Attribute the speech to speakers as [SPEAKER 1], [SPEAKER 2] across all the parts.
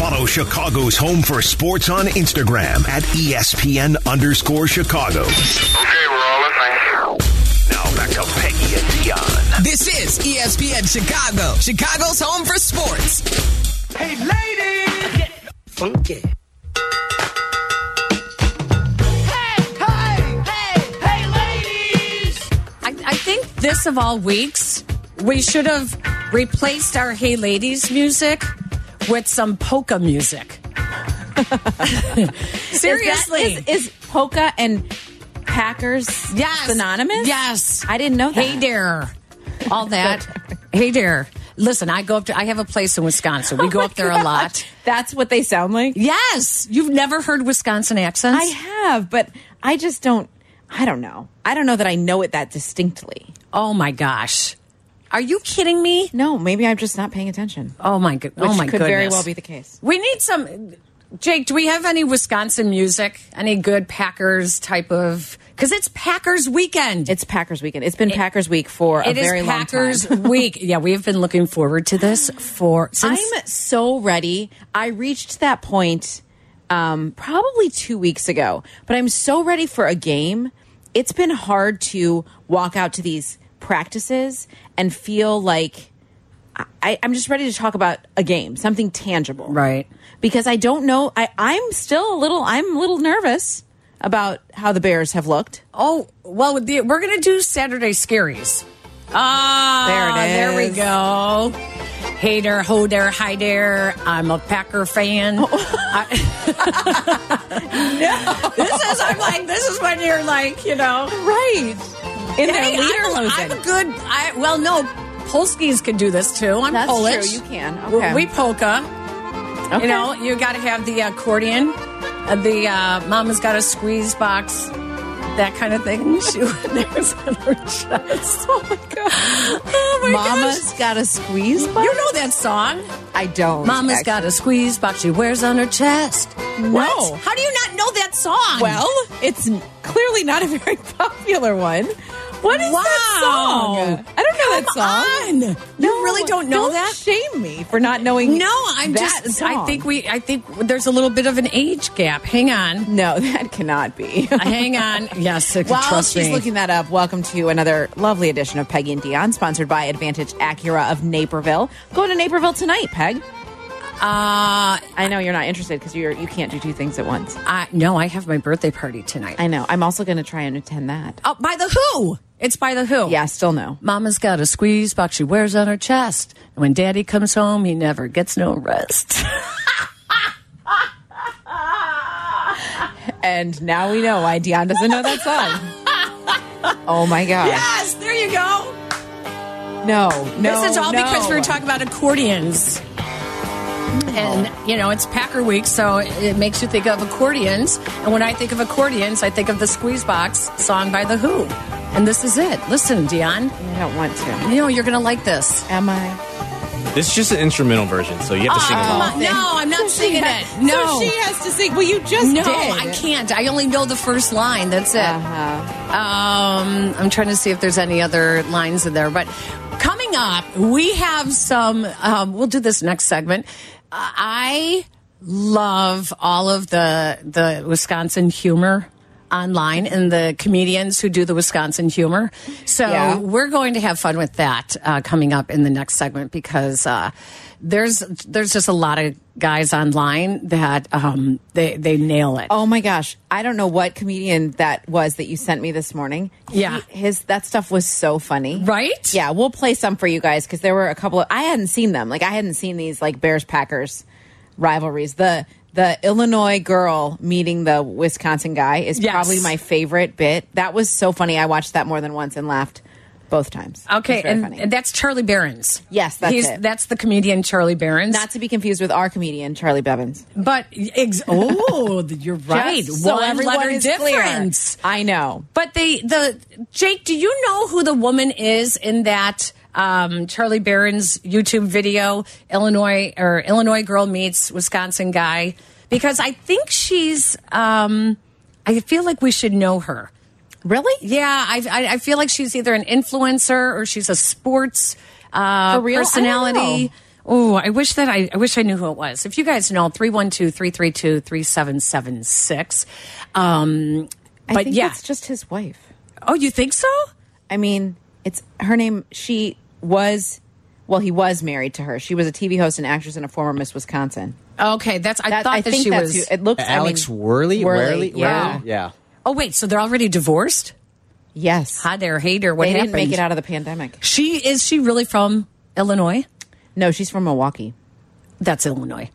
[SPEAKER 1] Follow Chicago's Home for Sports on Instagram at E ESPN underscore Chicago.
[SPEAKER 2] Okay, we're all listening.
[SPEAKER 1] Now back to Peggy and Dion.
[SPEAKER 3] This is E ESPN Chicago, Chicago's home for sports.
[SPEAKER 4] Hey, ladies, get funky.
[SPEAKER 5] I, I think this of all weeks, we should have replaced our Hey Ladies music with some polka music. Seriously.
[SPEAKER 6] Is, that, is, is polka and Packers
[SPEAKER 5] yes.
[SPEAKER 6] synonymous?
[SPEAKER 5] Yes.
[SPEAKER 6] I didn't know that.
[SPEAKER 5] Hey there. All that. hey there. Listen, I go up to, I have a place in Wisconsin. We
[SPEAKER 6] Oh
[SPEAKER 5] go
[SPEAKER 6] my
[SPEAKER 5] up there a
[SPEAKER 6] gosh.
[SPEAKER 5] lot.
[SPEAKER 6] That's what they sound like?
[SPEAKER 5] Yes. You've never heard Wisconsin accents?
[SPEAKER 6] I have, but I just don't. I don't know. I don't know that I know it that distinctly.
[SPEAKER 5] oh my gosh. Are you kidding me?
[SPEAKER 6] No, maybe I'm just not paying attention.
[SPEAKER 5] Oh my good.
[SPEAKER 6] Which
[SPEAKER 5] Oh my
[SPEAKER 6] could very
[SPEAKER 5] goodness.
[SPEAKER 6] well be the case.
[SPEAKER 5] We need some. Jake, do we have any Wisconsin music? Any good Packers type of? Because it's Packers weekend.
[SPEAKER 6] It's Packers weekend. It's been Packers week for a
[SPEAKER 5] It is
[SPEAKER 6] very
[SPEAKER 5] Packers
[SPEAKER 6] long time.
[SPEAKER 5] week. Yeah, we have been looking forward to this for since.
[SPEAKER 6] I'm so ready. I reached that point um, probably two weeks ago, but I'm so ready for a game. It's been hard to walk out to these practices and feel like I, I'm just ready to talk about a game, something tangible.
[SPEAKER 5] Right.
[SPEAKER 6] Because I don't know. I, I'm still a little, I'm a little nervous about how the Bears have looked.
[SPEAKER 5] oh well, the, we're gonna do Saturday scaries. Ah,
[SPEAKER 6] There it
[SPEAKER 5] There we
[SPEAKER 6] is.
[SPEAKER 5] go. Hey there, ho there, hi there. I'm a Packer fan. I- this is. I'm like. This is when you're like. You know.
[SPEAKER 6] Right. In their
[SPEAKER 5] Hey, I'm,
[SPEAKER 6] Lederhosen.
[SPEAKER 5] I'm a good. I, well, no, Polskis can do this too. I'm
[SPEAKER 6] That's
[SPEAKER 5] Polish.
[SPEAKER 6] true. You can.
[SPEAKER 5] We-
[SPEAKER 6] Okay.
[SPEAKER 5] We, polka.
[SPEAKER 6] Okay.
[SPEAKER 5] You know, you got to have the accordion. uh, The uh, mama's got a squeeze box. That kind of thing. She wears on her chest. Oh my god. Oh my
[SPEAKER 6] Mama's got a squeeze
[SPEAKER 5] gosh.
[SPEAKER 6] button.
[SPEAKER 5] You know that song?
[SPEAKER 6] I don't.
[SPEAKER 5] Mama's
[SPEAKER 6] actually.
[SPEAKER 5] got a squeeze box she wears on her chest. No. What? How do you not know that song?
[SPEAKER 6] Well, it's clearly not a very popular one. What is that
[SPEAKER 5] Wow.
[SPEAKER 6] song? I don't know that song.
[SPEAKER 5] Come on. you really don't know that?
[SPEAKER 6] Shame me for not knowing.
[SPEAKER 5] No, I'm
[SPEAKER 6] that
[SPEAKER 5] just. I
[SPEAKER 6] song.
[SPEAKER 5] think we. I think there's a little bit of an age gap. Hang on.
[SPEAKER 6] No, that cannot be.
[SPEAKER 5] Hang on. Yes, it-
[SPEAKER 6] While
[SPEAKER 5] trust
[SPEAKER 6] she's
[SPEAKER 5] me.
[SPEAKER 6] looking that up, welcome to another lovely edition of Peggy and Dion, sponsored by Advantage Acura of Naperville. Go to Naperville tonight, Peg.
[SPEAKER 5] uh,
[SPEAKER 6] I know you're not interested because you you can't do two things at once.
[SPEAKER 5] I, no, I have my birthday party tonight.
[SPEAKER 6] I know. I'm also going to try and attend that.
[SPEAKER 5] oh, by the Who. It's by the Who.
[SPEAKER 6] Yeah, still no.
[SPEAKER 5] Mama's got a squeeze box she wears on her chest, and when Daddy comes home, he never gets no rest.
[SPEAKER 6] And now we know why Dion doesn't know that song. oh my gosh.
[SPEAKER 5] yes, there you go.
[SPEAKER 6] No, no.
[SPEAKER 5] this is all
[SPEAKER 6] no.
[SPEAKER 5] because we were talking about accordions. And you know it's Packer Week, so it- it makes you think of accordions. And when I think of accordions, I think of the Squeezebox song by the Who. And this is it. Listen, Dion,
[SPEAKER 6] I don't want to.
[SPEAKER 5] you know you're gonna like this.
[SPEAKER 6] Am I?
[SPEAKER 7] This is just an instrumental version, so you have to
[SPEAKER 8] Ah.
[SPEAKER 7] sing
[SPEAKER 5] Come
[SPEAKER 7] along.
[SPEAKER 5] on. No, I'm not singing it. No,
[SPEAKER 6] has to sing. Well, you just
[SPEAKER 5] no, I can't. I only know the first line. That's it.
[SPEAKER 6] Uh-huh.
[SPEAKER 5] Um, I'm trying to see if there's any other lines in there. But coming up, we have some. Um, we'll do this next segment. Uh, I love all of the the Wisconsin humor online and the comedians who do the Wisconsin humor. So
[SPEAKER 6] Yeah.
[SPEAKER 5] we're going to have fun with that uh, coming up in the next segment because uh, there's there's just a lot of guys online that um, they they nail it.
[SPEAKER 6] Oh my gosh! I don't know what comedian that was that you sent me this morning. He-
[SPEAKER 5] Yeah.
[SPEAKER 6] his that stuff was so funny,
[SPEAKER 5] Right?
[SPEAKER 6] Yeah, we'll play some for you guys because there were a couple. Of, I hadn't seen them. Like I hadn't seen these like Bears Packers rivalries. The the Illinois girl meeting the Wisconsin guy is
[SPEAKER 5] Yes.
[SPEAKER 6] probably my favorite bit. That was so funny. I watched that more than once and laughed both times. It
[SPEAKER 5] Okay,
[SPEAKER 6] was very
[SPEAKER 5] and,
[SPEAKER 6] funny.
[SPEAKER 5] and that's Charlie Barons.
[SPEAKER 6] Yes, that's
[SPEAKER 5] He's,
[SPEAKER 6] it.
[SPEAKER 5] That's the comedian Charlie Barons.
[SPEAKER 6] Not to be confused with our comedian Charlie Bevins.
[SPEAKER 5] but ex- oh, you're right.
[SPEAKER 6] Just so
[SPEAKER 5] One
[SPEAKER 6] everyone
[SPEAKER 5] letter
[SPEAKER 6] is clear.
[SPEAKER 5] difference.
[SPEAKER 6] I know.
[SPEAKER 5] But the the Jake, do you know who the woman is in that um, Charlie Barron's YouTube video? Illinois or Illinois girl meets Wisconsin guy because I think she's. Um, I feel like we should know her.
[SPEAKER 6] Really?
[SPEAKER 5] Yeah, I I, I feel like she's either an influencer or she's a sports uh,
[SPEAKER 6] For real? I don't
[SPEAKER 5] personality.
[SPEAKER 6] know.
[SPEAKER 5] Oh, I wish that I, I wish I knew who it was. If you guys know, 312 332 3776. Um,
[SPEAKER 6] I
[SPEAKER 5] but
[SPEAKER 6] think
[SPEAKER 5] yeah.
[SPEAKER 6] that's just his wife.
[SPEAKER 5] oh, you think so?
[SPEAKER 6] I mean, it's her name. She was, well, he was married to her. She was a TV host, and actress, and a former Miss Wisconsin.
[SPEAKER 5] Okay, that's I
[SPEAKER 6] That-
[SPEAKER 5] thought
[SPEAKER 6] I
[SPEAKER 5] that
[SPEAKER 6] think
[SPEAKER 5] she
[SPEAKER 6] that's
[SPEAKER 5] was.
[SPEAKER 6] who- it looks.
[SPEAKER 7] Alex
[SPEAKER 6] I mean,
[SPEAKER 7] Worley? Worley?
[SPEAKER 6] yeah,
[SPEAKER 7] Worley? Yeah.
[SPEAKER 5] oh wait, so they're already divorced?
[SPEAKER 6] yes.
[SPEAKER 5] Hi there, hater. What
[SPEAKER 6] they
[SPEAKER 5] happened?
[SPEAKER 6] didn't make it out of the pandemic.
[SPEAKER 5] She is she really from Illinois?
[SPEAKER 6] No, she's from Milwaukee.
[SPEAKER 5] That's Illinois.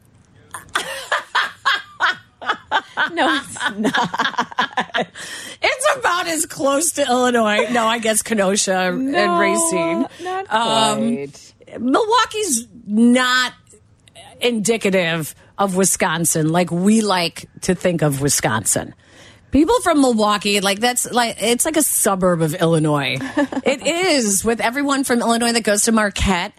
[SPEAKER 6] No,
[SPEAKER 5] It's about as close to Illinois. No, I guess Kenosha and Racine.
[SPEAKER 6] Oh, Not
[SPEAKER 5] Um,
[SPEAKER 6] quite.
[SPEAKER 5] Milwaukee's not indicative of Wisconsin like we like to think of Wisconsin. People from Milwaukee, like that's like it's like a suburb of Illinois. it is with everyone from Illinois that goes to Marquette.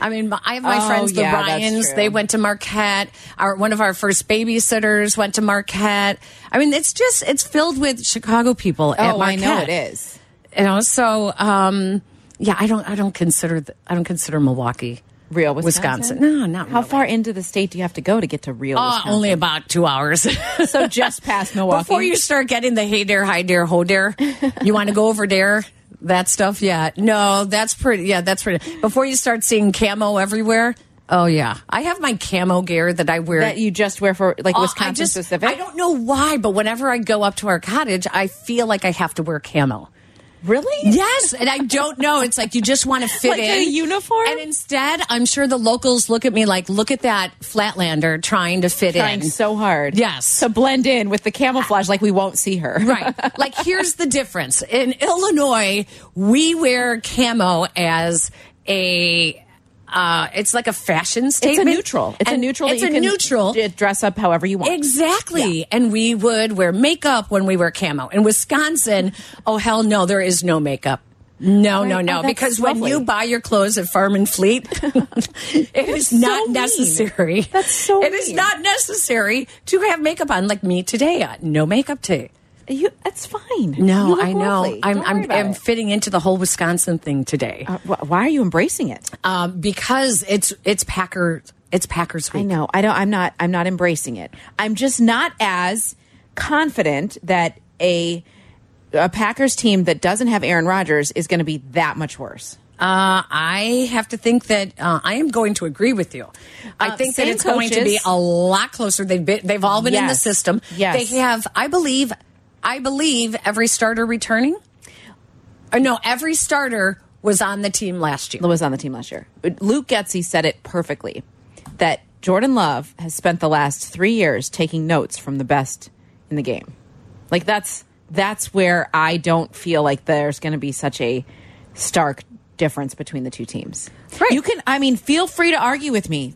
[SPEAKER 5] I mean, I have my
[SPEAKER 6] Oh,
[SPEAKER 5] friends, the
[SPEAKER 6] yeah, that's
[SPEAKER 5] Ryans.
[SPEAKER 6] true.
[SPEAKER 5] They went to Marquette. Our one of our first babysitters went to Marquette. I mean, it's just it's filled with Chicago people. at
[SPEAKER 6] oh, I
[SPEAKER 5] Marquette
[SPEAKER 6] know it is.
[SPEAKER 5] you know so um yeah i don't i don't consider th- i don't consider milwaukee
[SPEAKER 6] Real Wisconsin.
[SPEAKER 5] wisconsin no not
[SPEAKER 6] How
[SPEAKER 5] really.
[SPEAKER 6] far into the state do you have to go to get to real?
[SPEAKER 5] Uh,
[SPEAKER 6] Wisconsin?
[SPEAKER 5] only about two hours
[SPEAKER 6] so just past Milwaukee.
[SPEAKER 5] before you start getting the hey dare hi dare ho dare you want to go over there that stuff yeah no that's pretty yeah that's pretty before you start seeing camo everywhere oh yeah i have my camo gear that i wear
[SPEAKER 6] that you just wear for like
[SPEAKER 5] Uh,
[SPEAKER 6] Wisconsin
[SPEAKER 5] I just,
[SPEAKER 6] specific.
[SPEAKER 5] I don't know why, but whenever I go up to our cottage, I feel like I have to wear camo.
[SPEAKER 6] really.
[SPEAKER 5] Yes, and I don't know. It's like you just want to fit
[SPEAKER 6] Like
[SPEAKER 5] in
[SPEAKER 6] a uniform?
[SPEAKER 5] And instead, I'm sure the locals look at me like, "Look at that Flatlander trying to fit
[SPEAKER 6] Trying
[SPEAKER 5] in."
[SPEAKER 6] so hard,
[SPEAKER 5] Yes.
[SPEAKER 6] to blend in with the camouflage, like we won't see her.
[SPEAKER 5] right. Like here's the difference. In Illinois, we wear camo as a uh, it's like a fashion
[SPEAKER 6] It's a
[SPEAKER 5] statement.
[SPEAKER 6] neutral. It's
[SPEAKER 5] And
[SPEAKER 6] a neutral.
[SPEAKER 5] It's a
[SPEAKER 6] that you can
[SPEAKER 5] neutral.
[SPEAKER 6] d- Dress up however you want.
[SPEAKER 5] Exactly. And we would wear makeup when we wear camo. In Wisconsin, oh hell no, there is no makeup. No, no,
[SPEAKER 6] Right.
[SPEAKER 5] no.
[SPEAKER 6] Oh, that's
[SPEAKER 5] because when
[SPEAKER 6] lovely.
[SPEAKER 5] you buy your clothes at Farm and Fleet, it is not
[SPEAKER 6] mean.
[SPEAKER 5] necessary.
[SPEAKER 6] That's so
[SPEAKER 5] It is
[SPEAKER 6] mean.
[SPEAKER 5] not necessary to have makeup on, like me today. Uh, No makeup day.
[SPEAKER 6] You, that's fine. You
[SPEAKER 5] No,
[SPEAKER 6] look
[SPEAKER 5] I know.
[SPEAKER 6] lovely.
[SPEAKER 5] I'm
[SPEAKER 6] Don't worry
[SPEAKER 5] I'm,
[SPEAKER 6] about
[SPEAKER 5] I'm
[SPEAKER 6] it.
[SPEAKER 5] fitting into the whole Wisconsin thing today
[SPEAKER 6] Uh, wh- why are you embracing it?
[SPEAKER 5] um, because it's it's Packer it's Packers
[SPEAKER 6] I
[SPEAKER 5] week.
[SPEAKER 6] know. I don't. I'm not. I'm not embracing it. I'm just not as confident that a a Packers team that doesn't have Aaron Rodgers is going to be that much worse.
[SPEAKER 5] Uh, I have to think that uh, I am going to agree with you. I
[SPEAKER 6] Uh,
[SPEAKER 5] think that
[SPEAKER 6] same
[SPEAKER 5] it's going to
[SPEAKER 6] coaches.
[SPEAKER 5] be a lot closer. They've been, they've all been in the
[SPEAKER 6] Yes.
[SPEAKER 5] system.
[SPEAKER 6] Yes.
[SPEAKER 5] They have, I believe, I believe every starter returning. Or no, every starter was on the team last year.
[SPEAKER 6] that was on the team last year. Luke Getzey said it perfectly that Jordan Love has spent the last three years taking notes from the best in the game. Like that's that's where I don't feel like there's going to be such a stark difference between the two teams.
[SPEAKER 5] Right.
[SPEAKER 6] You can I mean feel free to argue with me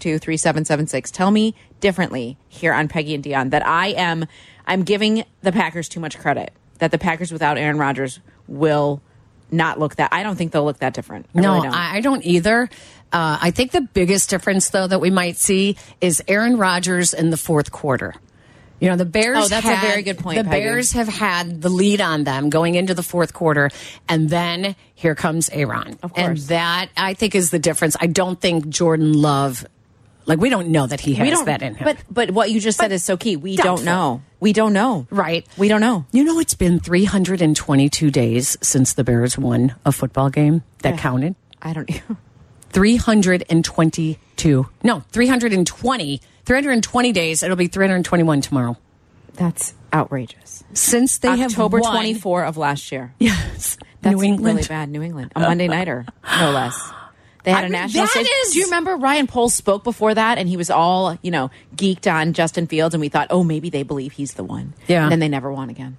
[SPEAKER 6] 312-332-3776. Tell me differently here on Peggy and Dion that I am I'm giving the Packers too much credit. That the Packers without Aaron Rodgers will not look that I don't think they'll look that different. I
[SPEAKER 5] No,
[SPEAKER 6] really don't.
[SPEAKER 5] I, I don't either. Uh, I think the biggest difference, though, that we might see is Aaron Rodgers in the fourth quarter. You know, the Bears.
[SPEAKER 6] Oh, that's a
[SPEAKER 5] had-
[SPEAKER 6] very good point,
[SPEAKER 5] The
[SPEAKER 6] Peggy.
[SPEAKER 5] Bears have had the lead on them going into the fourth quarter, and then here comes Aaron. Of
[SPEAKER 6] course.
[SPEAKER 5] And that I think is the difference. I don't think Jordan Love, like we don't know that he has
[SPEAKER 6] we don't
[SPEAKER 5] that in him.
[SPEAKER 6] But but what you just
[SPEAKER 5] But
[SPEAKER 6] said is so key. We
[SPEAKER 5] doubtful.
[SPEAKER 6] don't know. We don't know.
[SPEAKER 5] Right.
[SPEAKER 6] We don't know.
[SPEAKER 5] you know, it's been 322 days since the Bears won a football game that counted.
[SPEAKER 6] I don't
[SPEAKER 5] 322 no 320 320 days it'll be 321 tomorrow
[SPEAKER 6] That's outrageous.
[SPEAKER 5] since they
[SPEAKER 6] October
[SPEAKER 5] have won,
[SPEAKER 6] 24 of last year.
[SPEAKER 5] yes
[SPEAKER 6] That's
[SPEAKER 5] new england
[SPEAKER 6] really bad. New England. A Monday nighter, no less. They had
[SPEAKER 5] I
[SPEAKER 6] a
[SPEAKER 5] mean,
[SPEAKER 6] national
[SPEAKER 5] that
[SPEAKER 6] stage.
[SPEAKER 5] is-
[SPEAKER 6] Do you remember Ryan Pohl spoke before that and he was all, you know, geeked on Justin Fields and we thought, "Oh, maybe they believe he's the one."
[SPEAKER 5] Yeah.
[SPEAKER 6] And then they never won again.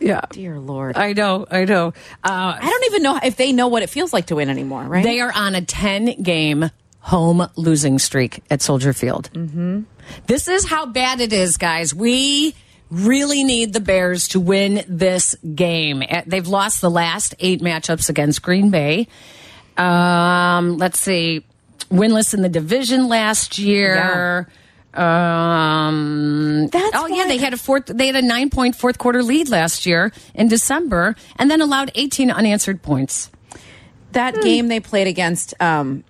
[SPEAKER 5] yeah
[SPEAKER 6] Dear lord. I,
[SPEAKER 5] i know i know uh,
[SPEAKER 6] don't even know if they know what it feels like to win anymore, right?
[SPEAKER 5] they are on a 10 game home losing streak at soldier field mm-hmm. this is how bad it is guys we really need the bears to win this game Uh, they've lost the last eight matchups against green bay um, let's see winless in the division last year um
[SPEAKER 6] That's
[SPEAKER 5] oh yeah
[SPEAKER 6] why-
[SPEAKER 5] they had a fourth they had a nine point fourth quarter lead last year in december and then allowed 18 unanswered points
[SPEAKER 6] that game they played against um,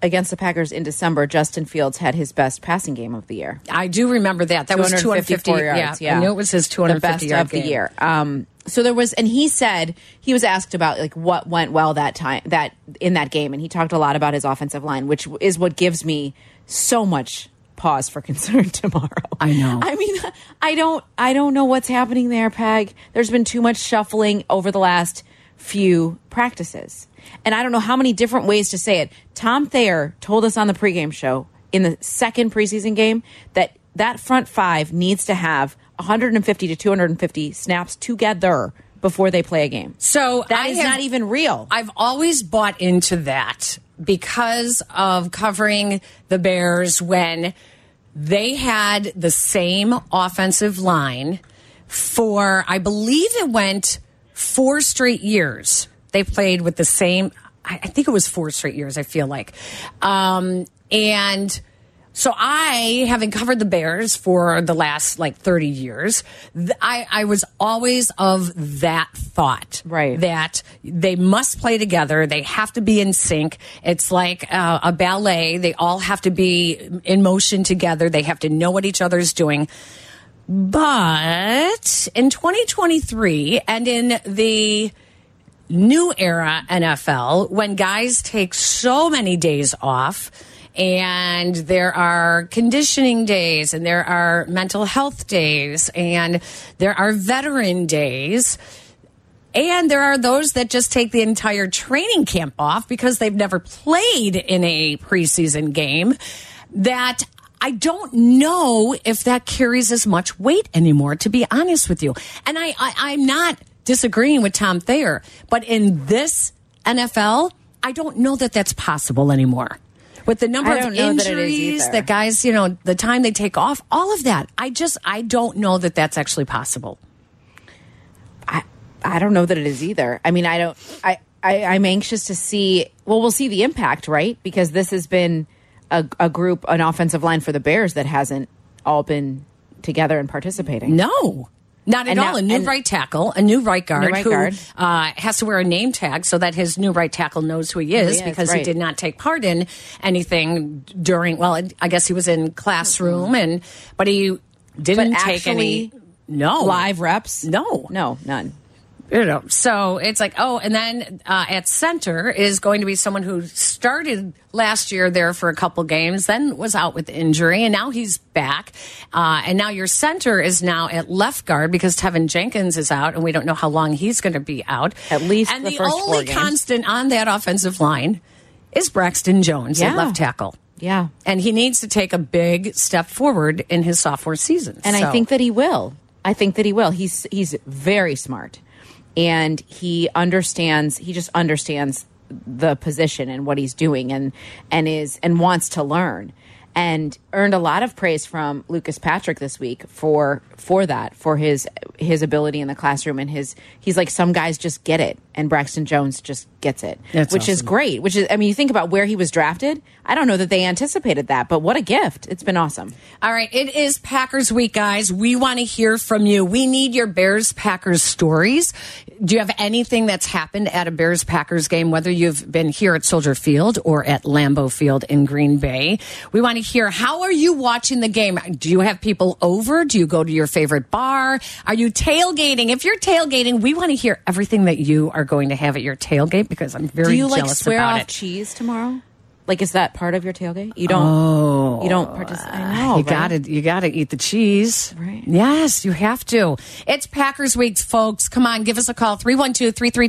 [SPEAKER 6] against the Packers in December, Justin Fields had his best passing game of the year.
[SPEAKER 5] I do remember that. That was 250
[SPEAKER 6] 254 yards. Yeah,
[SPEAKER 5] I knew it was his 250
[SPEAKER 6] the best
[SPEAKER 5] yard
[SPEAKER 6] of
[SPEAKER 5] game.
[SPEAKER 6] the year. Um, so there was, and he said he was asked about like what went well that time that in that game, and he talked a lot about his offensive line, which is what gives me so much pause for concern tomorrow.
[SPEAKER 5] I know.
[SPEAKER 6] I mean, I don't, I don't know what's happening there, Peg. There's been too much shuffling over the last few practices, and I don't know how many different ways to say it. Tom Thayer told us on the pregame show in the second preseason game that that front five needs to have 150 to 250 snaps together before they play a game.
[SPEAKER 5] So
[SPEAKER 6] That
[SPEAKER 5] I
[SPEAKER 6] is
[SPEAKER 5] have-
[SPEAKER 6] not even real.
[SPEAKER 5] I've always bought into that because of covering the Bears when they had the same offensive line for, I believe it went four straight years. They played with the same, I I think it was four straight years, I feel like. Um, and so I, having covered the Bears for the last like 30 years, th I, I was always of that thought
[SPEAKER 6] Right.
[SPEAKER 5] that they must play together. They have to be in sync. It's like uh, a ballet. They all have to be in motion together. They have to know what each other's doing. But in 2023 and in the new era NFL, when guys take so many days off and there are conditioning days and there are mental health days and there are veteran days, and there are those that just take the entire training camp off because they've never played in a preseason game. That I don't know if that carries as much weight anymore, to be honest with you. And I, I I'm not disagreeing with Tom Thayer, but in this NFL, I don't know that that's possible anymore. With the number
[SPEAKER 6] I
[SPEAKER 5] of
[SPEAKER 6] don't know that it is
[SPEAKER 5] injuries
[SPEAKER 6] either.
[SPEAKER 5] that guys, you know, the time they take off, all of that. I just, I don't know that that's actually possible.
[SPEAKER 6] I, I don't know that it is either. I mean, I don't. I, I I'm anxious to see. Well, we'll see the impact, right? Because this has been a, a group, an offensive line for the Bears that hasn't all been together and participating.
[SPEAKER 5] No, not at
[SPEAKER 6] And
[SPEAKER 5] all.
[SPEAKER 6] now-
[SPEAKER 5] a new
[SPEAKER 6] and-
[SPEAKER 5] right tackle, a new right guard,
[SPEAKER 6] New right
[SPEAKER 5] who
[SPEAKER 6] guard.
[SPEAKER 5] Uh, has to wear a name tag so that his new right tackle knows who he is
[SPEAKER 6] is,
[SPEAKER 5] because he
[SPEAKER 6] right.
[SPEAKER 5] did not take part in anything during. Well, I guess he was in classroom and, but he didn't
[SPEAKER 6] But
[SPEAKER 5] take any
[SPEAKER 6] actually
[SPEAKER 5] no
[SPEAKER 6] Live reps?
[SPEAKER 5] No,
[SPEAKER 6] no, none.
[SPEAKER 5] you know. So it's like, oh, and then uh, at center is going to be someone who started last year there for a couple games, then was out with injury, and now he's back. Uh, and now your center is now at left guard because Tevin Jenkins is out, and we don't know how long he's going to be out.
[SPEAKER 6] At least
[SPEAKER 5] and
[SPEAKER 6] the
[SPEAKER 5] the
[SPEAKER 6] first four
[SPEAKER 5] only
[SPEAKER 6] games.
[SPEAKER 5] constant on that offensive line is Braxton Jones at
[SPEAKER 6] Yeah.
[SPEAKER 5] left tackle.
[SPEAKER 6] Yeah,
[SPEAKER 5] And he needs to take a big step forward in his sophomore season.
[SPEAKER 6] and
[SPEAKER 5] So-
[SPEAKER 6] I think that he will. I think that he will. He's he's very smart, and he understands. He just understands the position and what he's doing, and and is and wants to learn, and earned a lot of praise from Lucas Patrick this week for for that for his his ability in the classroom and his he's like some guys just get it, and Braxton Jones just gets it,
[SPEAKER 5] That's
[SPEAKER 6] which is
[SPEAKER 5] awesome.
[SPEAKER 6] great. Which is I mean, you think about where he was drafted. I don't know that they anticipated that, but what a gift! It's been awesome.
[SPEAKER 5] All right, it is Packers week, guys. We want to hear from you. We need your Bears Packers stories. Do you have anything that's happened at a Bears Packers game, whether you've been here at Soldier Field or at Lambeau Field in Green Bay? We want to hear how are you watching the game? Do you have people over? Do you go to your favorite bar? Are you tailgating? If you're tailgating, we want to hear everything that you are going to have at your tailgate because I'm very
[SPEAKER 6] Do you like
[SPEAKER 5] jealous
[SPEAKER 6] swear
[SPEAKER 5] about
[SPEAKER 6] off
[SPEAKER 5] it.
[SPEAKER 6] cheese tomorrow? Like, is that part of your tailgate? You don't. you don't participate. I know.
[SPEAKER 5] Oh, uh, you
[SPEAKER 6] right?
[SPEAKER 5] got to you got to eat the cheese.
[SPEAKER 6] Right.
[SPEAKER 5] Yes, you have to. It's Packers weeks, folks. Come on, give us a call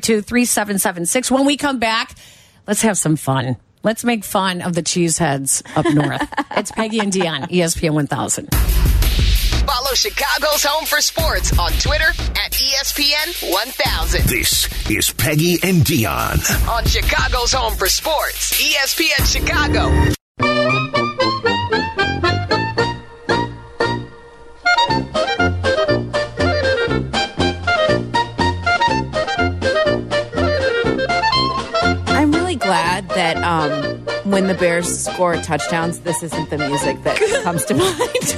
[SPEAKER 5] 312-332-3776. When we come back, let's have some fun. Let's make fun of the cheeseheads up north. it's Peggy and Dion, E ESPN 1000.
[SPEAKER 9] Follow Chicago's Home for Sports on Twitter at E ESPN 1000.
[SPEAKER 1] This is Peggy and Dion.
[SPEAKER 9] On Chicago's Home for Sports, E ESPN Chicago.
[SPEAKER 6] I'm really glad that um, when the Bears score touchdowns, this isn't the music that comes to mind.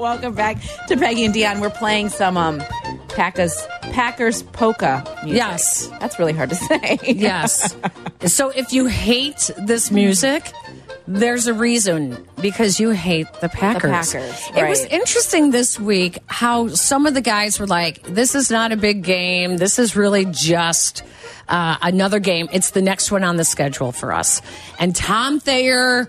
[SPEAKER 6] Welcome back to Peggy and Dion. We're playing some um, Packa's Packers polka music.
[SPEAKER 5] Yes.
[SPEAKER 6] That's really hard to say.
[SPEAKER 5] Yes. so if you hate this music, there's a reason because you hate the Packers.
[SPEAKER 6] Packers,
[SPEAKER 5] It was
[SPEAKER 6] right.
[SPEAKER 5] interesting this week how some of the guys were like, "This is not a big game. This is really just uh, another game. It's the next one on the schedule for us." And Tom Thayer.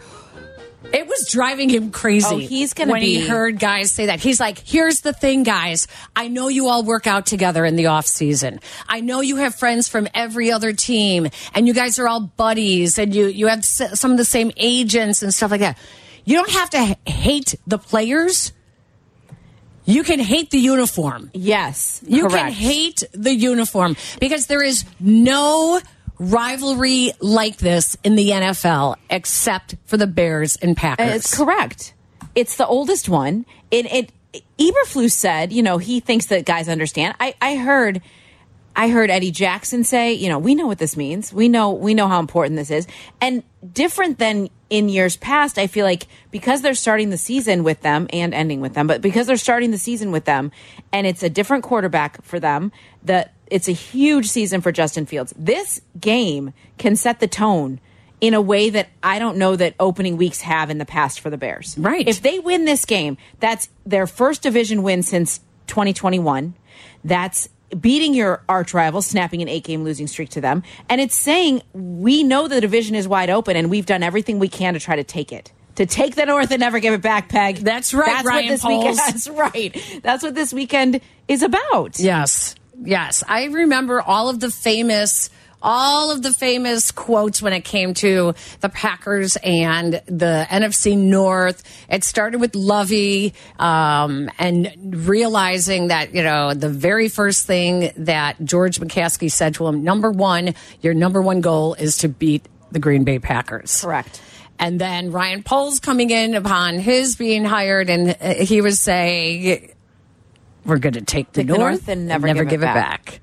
[SPEAKER 5] It was driving him crazy.
[SPEAKER 6] Oh, he's gonna
[SPEAKER 5] when he
[SPEAKER 6] be-
[SPEAKER 5] heard guys say that. He's like, "Here's the thing, guys. I know you all work out together in the off season. I know you have friends from every other team, and you guys are all buddies, and you you have s- some of the same agents and stuff like that. You don't have to h- hate the players. You can hate the uniform.
[SPEAKER 6] Yes.
[SPEAKER 5] You can
[SPEAKER 6] correct.
[SPEAKER 5] hate the uniform because there is no rivalry like this in the NFL except for the Bears and Packers.
[SPEAKER 6] Uh, It's correct. It's the oldest one. It, it Eberflus said, you know, he thinks that guys understand. I, I heard, I heard Eddie Jackson say, you know, we know what this means. We know, we know how important this is, and different than in years past. I feel like because they're starting the season with them and ending with them, but because they're starting the season with them, and it's a different quarterback for them. That it's a huge season for Justin Fields. This game can set the tone in a way that I don't know that opening weeks have in the past for the Bears.
[SPEAKER 5] Right.
[SPEAKER 6] If they win this game, that's their first division win since 2021. That's beating your arch rival, snapping an eight game losing streak to them. And it's saying, we know the division is wide open and we've done everything we can to try to take it. To take the North and never give it back, Peg.
[SPEAKER 5] That's right,
[SPEAKER 6] That's
[SPEAKER 5] Ryan
[SPEAKER 6] what this
[SPEAKER 5] Poles.
[SPEAKER 6] weekend. That's right. That's what this weekend is about.
[SPEAKER 5] Yes. Yes. I remember all of the famous all of the famous quotes when it came to the Packers and the NFC North. It started with Lovey um, and realizing that, you know, the very first thing that George McCaskey said to him number one, your number one goal is to beat the Green Bay Packers.
[SPEAKER 6] Correct.
[SPEAKER 5] And then Ryan Poles coming in upon his being hired, and uh, he was saying, we're going to take the,
[SPEAKER 6] Take the
[SPEAKER 5] north,
[SPEAKER 6] North and never give it back.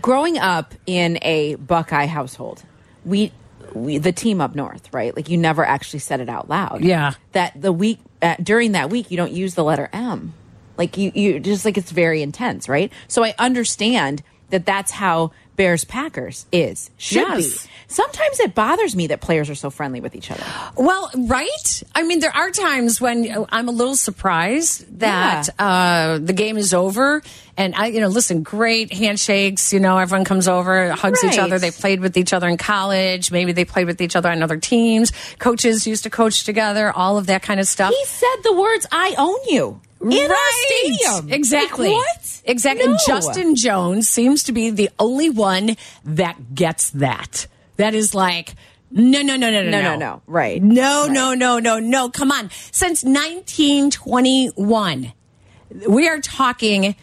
[SPEAKER 6] growing up in a Buckeye household, we, we the team up north, right? Like you never actually said it out loud.
[SPEAKER 5] Yeah.
[SPEAKER 6] That the week uh, during that week you don't use the letter M. Like you you just like it's very intense, right? So I understand that that's how Bears Packers is should
[SPEAKER 5] Yes.
[SPEAKER 6] be. Sometimes it bothers me that players are so friendly with each other.
[SPEAKER 5] Well, right? I mean, there are times when uh, I'm a little surprised that uh, the game is over. And I, you know, listen, great handshakes. You know, everyone comes over, hugs each
[SPEAKER 6] Right.
[SPEAKER 5] other. They played with each other in college. Maybe they played with each other on other teams. Coaches used to coach together, all of that kind of stuff.
[SPEAKER 6] He said the words "I own you" in our
[SPEAKER 5] Right.
[SPEAKER 6] stadium.
[SPEAKER 5] Exactly.
[SPEAKER 6] Like, what?
[SPEAKER 5] Exactly.
[SPEAKER 6] No.
[SPEAKER 5] And Justin Jones seems to be the only one that gets that. That is like, no, no, no, no, no,
[SPEAKER 6] No, no, no. Right.
[SPEAKER 5] No, no, no, no, no. Come on. Since 1921, we are talking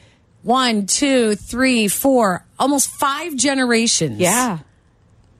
[SPEAKER 5] one, two, three, four, almost five generations
[SPEAKER 6] Yeah.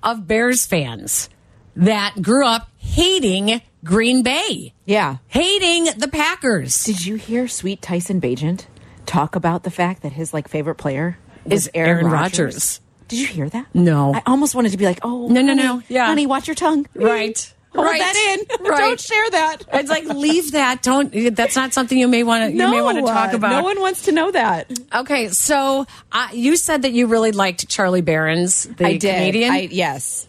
[SPEAKER 5] of Bears fans that grew up hating Green Bay.
[SPEAKER 6] Yeah.
[SPEAKER 5] Hating the Packers.
[SPEAKER 6] Did you hear Sweet Tyson Bajent talk about the fact that his like favorite player was
[SPEAKER 5] Is Aaron Rodgers.
[SPEAKER 6] Did you hear that?
[SPEAKER 5] No.
[SPEAKER 6] I almost wanted to be like, oh,
[SPEAKER 5] No, no,
[SPEAKER 6] honey,
[SPEAKER 5] no. Yeah.
[SPEAKER 6] honey, watch your tongue.
[SPEAKER 5] Right.
[SPEAKER 6] Hold
[SPEAKER 5] Right.
[SPEAKER 6] that in.
[SPEAKER 5] Right.
[SPEAKER 6] Don't share that.
[SPEAKER 5] It's like leave that. Don't. That's not something you may want to. you may want to talk
[SPEAKER 6] uh,
[SPEAKER 5] about.
[SPEAKER 6] No one wants to know that.
[SPEAKER 5] okay, so uh, you said that you really liked Charlie Barron's the comedian.
[SPEAKER 6] I, yes.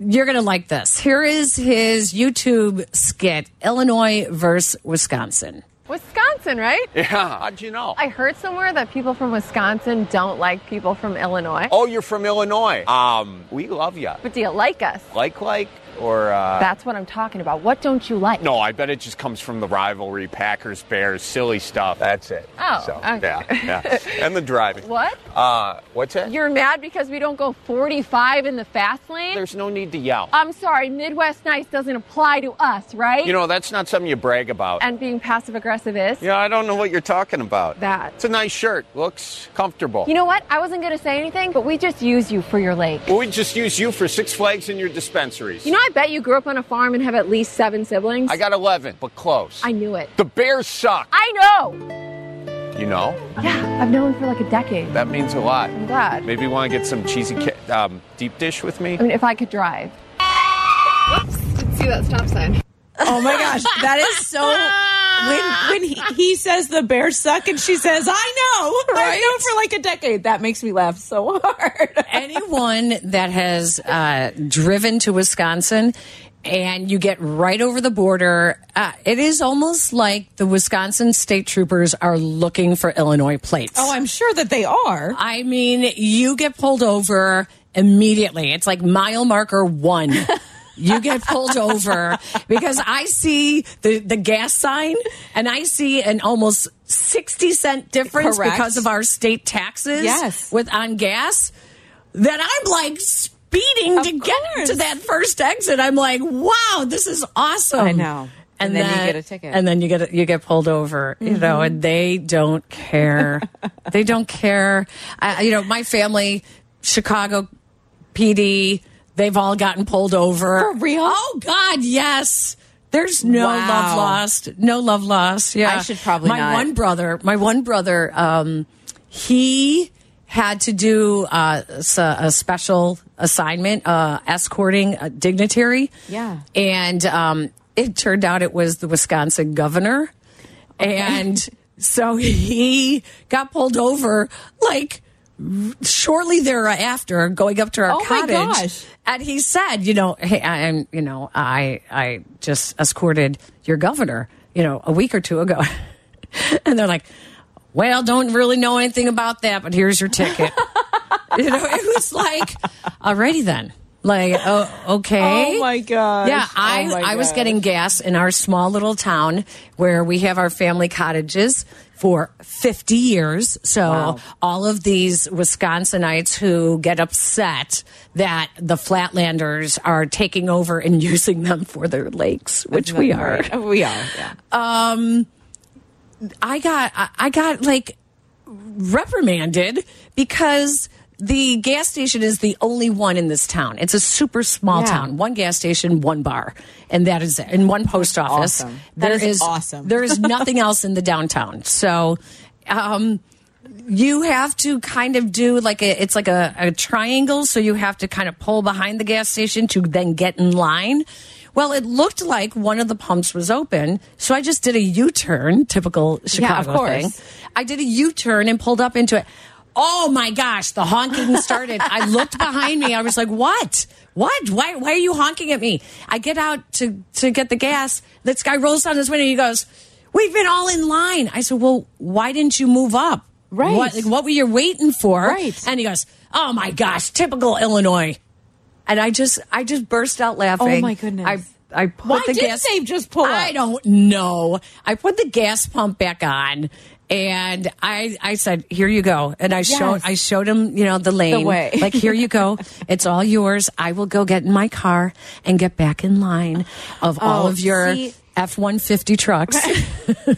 [SPEAKER 5] You're gonna like this. Here is his YouTube skit: Illinois versus Wisconsin.
[SPEAKER 8] Wisconsin, right?
[SPEAKER 10] Yeah, how'd you know?
[SPEAKER 8] I heard somewhere that people from Wisconsin don't like people from Illinois.
[SPEAKER 10] oh, you're from Illinois. Um, we love you.
[SPEAKER 8] But do you like us?
[SPEAKER 10] Like, like, or uh,
[SPEAKER 8] That's what I'm talking about. What don't you like?
[SPEAKER 10] no? I bet it just comes from the rivalry, Packers, Bears, silly stuff. That's it.
[SPEAKER 8] Oh,
[SPEAKER 10] So,
[SPEAKER 8] okay.
[SPEAKER 10] yeah, yeah, and the driving.
[SPEAKER 8] What?
[SPEAKER 10] Uh, what's that?
[SPEAKER 8] You're mad because we don't go 45 in the fast lane?
[SPEAKER 10] There's no need to yell.
[SPEAKER 8] I'm sorry, Midwest Nice doesn't apply to us, right?
[SPEAKER 10] you know, that's not something you brag about.
[SPEAKER 8] and being passive aggressive is.
[SPEAKER 10] yeah, I don't know what you're talking about.
[SPEAKER 8] That.
[SPEAKER 10] It's a nice shirt. Looks comfortable.
[SPEAKER 8] You know what? I wasn't going to say anything, but we just use you for your lake.
[SPEAKER 10] we just use you for Six Flags and your dispensaries.
[SPEAKER 8] You know, I bet you grew up on a farm and have at least seven siblings.
[SPEAKER 10] I got 11, but close.
[SPEAKER 8] I knew it.
[SPEAKER 10] the Bears suck.
[SPEAKER 8] I know.
[SPEAKER 10] you know,
[SPEAKER 8] Yeah, I've known for like a decade.
[SPEAKER 10] that means a lot.
[SPEAKER 8] I'm glad.
[SPEAKER 10] Maybe you want to get some cheesy ca- um, deep dish with me?
[SPEAKER 8] I mean, if I could drive. Whoops, didn't see that stop sign.
[SPEAKER 6] Oh my gosh, that is so when when he, he says the bears suck and she says I know I know for like a decade that makes me laugh so hard.
[SPEAKER 5] anyone that has uh, driven to Wisconsin and you get right over the border, uh, it is almost like the Wisconsin state troopers are looking for Illinois plates.
[SPEAKER 6] Oh, I'm sure that they are.
[SPEAKER 5] I mean, you get pulled over immediately. It's like mile marker one. You get pulled over because I see the, the gas sign and I see an almost 60 cent difference
[SPEAKER 6] Correct.
[SPEAKER 5] because of our state taxes
[SPEAKER 6] Yes.
[SPEAKER 5] with on gas that I'm like speeding to get to
[SPEAKER 6] course.
[SPEAKER 5] that first exit. I'm like, wow, this is awesome.
[SPEAKER 6] I know. And then you get a ticket. Mm-hmm.
[SPEAKER 5] And then you get you get pulled over, you know, and they don't care. they don't care. I, you know, my family, Chicago PD, they've all gotten pulled over.
[SPEAKER 6] For real?
[SPEAKER 5] Oh God, yes. There's no
[SPEAKER 6] Wow.
[SPEAKER 5] love lost. No love lost. Yeah.
[SPEAKER 6] I should probably
[SPEAKER 5] My
[SPEAKER 6] not.
[SPEAKER 5] one brother, my one brother, um, he had to do uh, s- a special assignment uh, escorting a dignitary.
[SPEAKER 6] Yeah.
[SPEAKER 5] And um, it turned out it was the Wisconsin governor. And so he got pulled over like shortly thereafter going up to our
[SPEAKER 6] Oh my
[SPEAKER 5] cottage
[SPEAKER 6] gosh.
[SPEAKER 5] and he said you know hey I- i'm you know i i just escorted your governor you know a week or two ago and they're like well don't really know anything about that but here's your ticket you know it was like alrighty then like oh okay
[SPEAKER 6] Oh my gosh.
[SPEAKER 5] yeah i
[SPEAKER 6] Oh my
[SPEAKER 5] i was
[SPEAKER 6] gosh.
[SPEAKER 5] getting gas in our small little town where we have our family cottages for 50 years so all of these wisconsinites who get upset that the flatlanders are taking over and using them for their lakes which we are
[SPEAKER 6] Oh, we are. Yeah.
[SPEAKER 5] I got I- I got like reprimanded because the gas station is the only one in this town. It's a super small
[SPEAKER 6] Yeah.
[SPEAKER 5] town. One gas station, one bar, and that is it. And one post office.
[SPEAKER 6] awesome. That
[SPEAKER 5] There
[SPEAKER 6] is awesome.
[SPEAKER 5] There is nothing else in the downtown. So um you have to kind of do like a it's like a, a triangle, so you have to kind of pull behind the gas station to then get in line. Well, it looked like one of the pumps was open, so I just did a U turn, typical
[SPEAKER 6] Yeah, of
[SPEAKER 5] Chicago
[SPEAKER 6] course.
[SPEAKER 5] thing. I did a U turn and pulled up into it. Oh my gosh, the honking started. I looked behind me. I was like, "What? What? Why? Why are you honking at me?" I get out to to get the gas. This guy rolls down his window. He goes, "We've been all in line." I said, "Well, why didn't you move up?
[SPEAKER 6] Right.
[SPEAKER 5] What, like, what were you waiting for?"
[SPEAKER 6] Right.
[SPEAKER 5] And he goes, "Oh my gosh, typical Illinois." And I just I just burst out laughing.
[SPEAKER 6] Oh my goodness.
[SPEAKER 5] I I put
[SPEAKER 6] Why
[SPEAKER 5] the
[SPEAKER 6] didn't
[SPEAKER 5] gas.
[SPEAKER 6] they just pull up?
[SPEAKER 5] I don't know. I put the gas pump back on, and I I said, "Here you go." And I showed I showed him, you know, the lane.
[SPEAKER 6] way.
[SPEAKER 5] Like, here you go. It's all yours. I will go get in my car and get back in line of all
[SPEAKER 6] Oh,
[SPEAKER 5] of your
[SPEAKER 6] see-
[SPEAKER 5] F one fifty trucks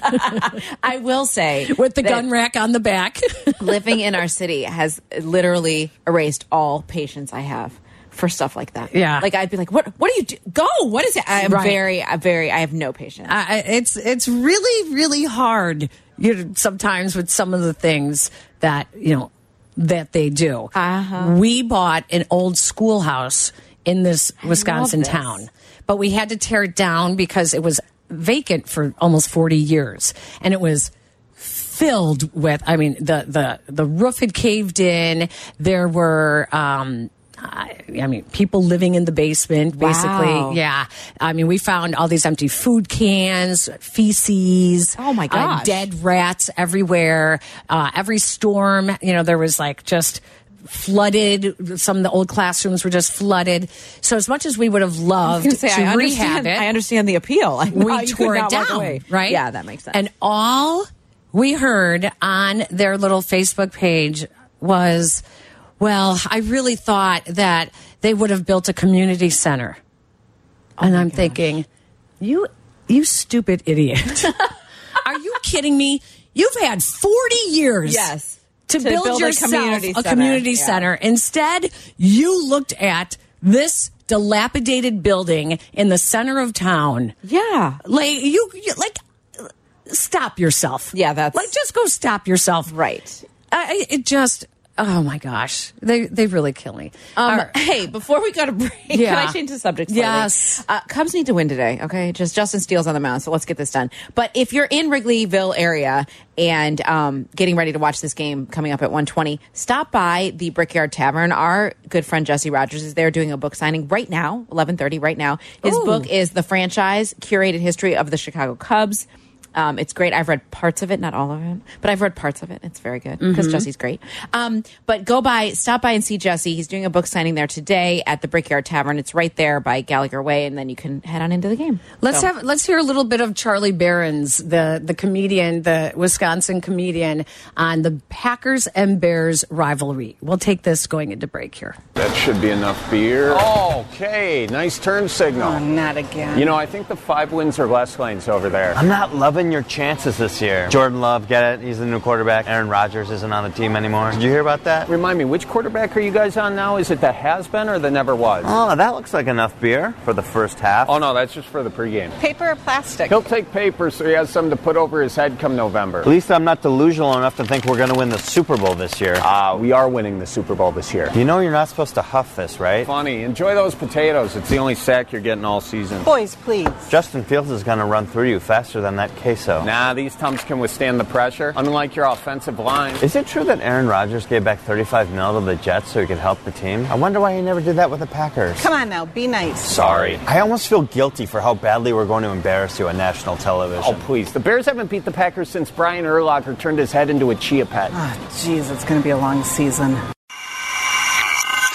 [SPEAKER 6] I will say
[SPEAKER 5] with the
[SPEAKER 6] that
[SPEAKER 5] gun rack on the back.
[SPEAKER 6] living in our city has literally erased all patience I have for stuff like that.
[SPEAKER 5] Yeah.
[SPEAKER 6] Like I'd be like, what what do you do? Go. What is it? I'm
[SPEAKER 5] Right.
[SPEAKER 6] very, I very I have no patience.
[SPEAKER 5] I, I- it's it's really really hard you know, sometimes with some of the things that you know that they do.
[SPEAKER 6] Uh-huh.
[SPEAKER 5] We bought an old schoolhouse in this Wisconsin
[SPEAKER 6] this.
[SPEAKER 5] town, but we had to tear it down because it was vacant for almost forty years, and it was filled with i mean the the the roof had caved in there were um I, I mean people living in the basement basically
[SPEAKER 6] Wow.
[SPEAKER 5] yeah i mean we found all these empty food cans feces
[SPEAKER 6] Oh, my
[SPEAKER 5] uh,
[SPEAKER 6] gosh.
[SPEAKER 5] dead rats everywhere uh every storm you know there was like just flooded some of the old classrooms were just flooded so as much as we would have loved
[SPEAKER 6] was gonna
[SPEAKER 5] to
[SPEAKER 6] I
[SPEAKER 5] rehab
[SPEAKER 6] understand,
[SPEAKER 5] it
[SPEAKER 6] I understand the appeal. I
[SPEAKER 5] we
[SPEAKER 6] know you could
[SPEAKER 5] tore it
[SPEAKER 6] not walk
[SPEAKER 5] down,
[SPEAKER 6] away.
[SPEAKER 5] right?
[SPEAKER 6] Yeah, that makes sense.
[SPEAKER 5] And all we heard on their little Facebook page was, "Well, I really thought that they would have built a community center,"
[SPEAKER 6] Oh
[SPEAKER 5] and I'm thinking, "You, you stupid idiot! Are you kidding me? You've had 40 years,
[SPEAKER 6] Yes,
[SPEAKER 5] to,
[SPEAKER 6] to
[SPEAKER 5] build,
[SPEAKER 6] build a
[SPEAKER 5] yourself a community,
[SPEAKER 6] community
[SPEAKER 5] center.
[SPEAKER 6] center. Yeah.
[SPEAKER 5] Instead, you looked at this." Dilapidated building in the center of town
[SPEAKER 6] yeah.
[SPEAKER 5] like you, you like stop yourself
[SPEAKER 6] Yeah, that's-
[SPEAKER 5] like just go stop yourself
[SPEAKER 6] Right.
[SPEAKER 5] I, I- it just oh my gosh, they they really kill me.
[SPEAKER 6] Um,
[SPEAKER 5] All right.
[SPEAKER 6] Hey, before we go to break,
[SPEAKER 5] Yeah.
[SPEAKER 6] can I change the subject? Slightly?
[SPEAKER 5] Yes.
[SPEAKER 6] Uh, Cubs need to win today. Okay, just Justin Steele's on the mound, so let's get this done. But if you're in Wrigleyville area and um, getting ready to watch this game coming up at 1:20, stop by the Brickyard Tavern. Our good friend Jesse Rogers is there doing a book signing right now, 11:30 right now. His
[SPEAKER 5] Ooh.
[SPEAKER 6] book is the franchise curated history of the Chicago Cubs. Um, it's great. I've read parts of it, not all of it, but I've read parts of it. It's very good because Jesse's great. Um, but go by, stop by and see Jesse. He's doing a book signing there today at the Brickyard Tavern. It's right there by Gallagher Way, and then you can head on into the game.
[SPEAKER 5] Let's
[SPEAKER 6] So-
[SPEAKER 5] have let's hear a little bit of Charlie Barron's, the the comedian, the Wisconsin comedian, on the Packers and Bears rivalry. We'll take this going into break here.
[SPEAKER 10] That should be enough beer. Okay, nice turn signal.
[SPEAKER 11] not again.
[SPEAKER 10] You know, I think the five wins or less lanes over there.
[SPEAKER 12] I'm not loving your chances this year. Jordan Love, get it? He's the new quarterback. Aaron Rodgers isn't on the team anymore. Did you hear about that?
[SPEAKER 10] Remind me, which quarterback are you guys on now? Is it the has been or the never was?
[SPEAKER 12] Oh, that looks like enough beer for the first half.
[SPEAKER 10] Oh no, that's just for the pregame.
[SPEAKER 11] Paper or plastic?
[SPEAKER 10] He'll take paper so he has something to put over his head come November.
[SPEAKER 12] At least I'm not delusional enough to think we're going to win the Super Bowl this year.
[SPEAKER 10] Ah, we are winning the Super Bowl this year.
[SPEAKER 12] You know you're not supposed to huff this, right?
[SPEAKER 10] Funny. Enjoy those potatoes. It's the only sack you're getting all season.
[SPEAKER 11] Boys, please.
[SPEAKER 12] Justin Fields is going to run through you faster than that queso.
[SPEAKER 10] Nah, these tums can withstand the pressure, unlike your offensive line.
[SPEAKER 12] Is it true that Aaron Rodgers gave back 35 mil to the Jets so he could help the team? I wonder why he never did that with the Packers.
[SPEAKER 11] Come on now, be nice.
[SPEAKER 10] Sorry.
[SPEAKER 12] I almost feel guilty for how badly we're going to embarrass you on national television.
[SPEAKER 10] Oh, please. The Bears haven't beat the Packers since Brian Urlacher turned his head into a chia pet.
[SPEAKER 11] Jeez, it's going to be a long season.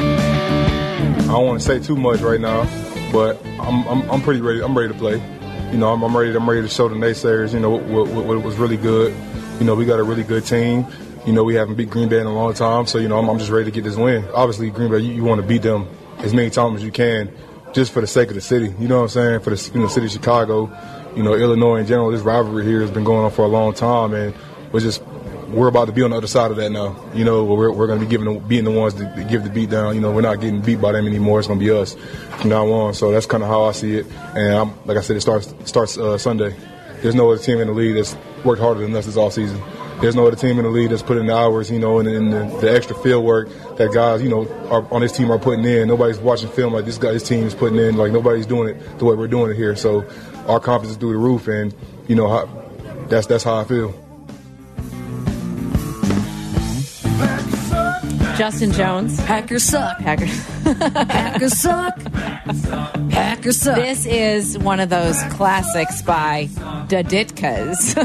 [SPEAKER 13] I don't want to say too much right now, but I'm, I'm, I'm pretty ready. I'm ready to play. You know, I'm, I'm ready. I'm ready to show the naysayers. You know, what, what, what was really good. You know, we got a really good team. You know, we haven't beat Green Bay in a long time, so you know, I'm, I'm just ready to get this win. Obviously, Green Bay, you, you want to beat them as many times as you can, just for the sake of the city. You know what I'm saying? For the you know, city of Chicago, you know, Illinois in general. This rivalry here has been going on for a long time, and we're just we're about to be on the other side of that now. You know, we're, we're going to be giving the, being the ones to give the beat down. You know, we're not getting beat by them anymore. It's going to be us from now on. So that's kind of how I see it. And I'm, like I said, it starts starts uh, Sunday. There's no other team in the league that's worked harder than us this offseason. There's no other team in the league that's put in the hours, you know, and, and the, the extra field work that guys, you know, are, on this team are putting in. Nobody's watching film like this guy, this team is putting in. Like nobody's doing it the way we're doing it here. So our confidence is through the roof, and you know, how, that's that's how I feel.
[SPEAKER 6] Justin Jones.
[SPEAKER 5] Packers suck.
[SPEAKER 6] Packers.
[SPEAKER 5] Packers suck. Packers suck.
[SPEAKER 6] This is one of those classics by the Ditkas.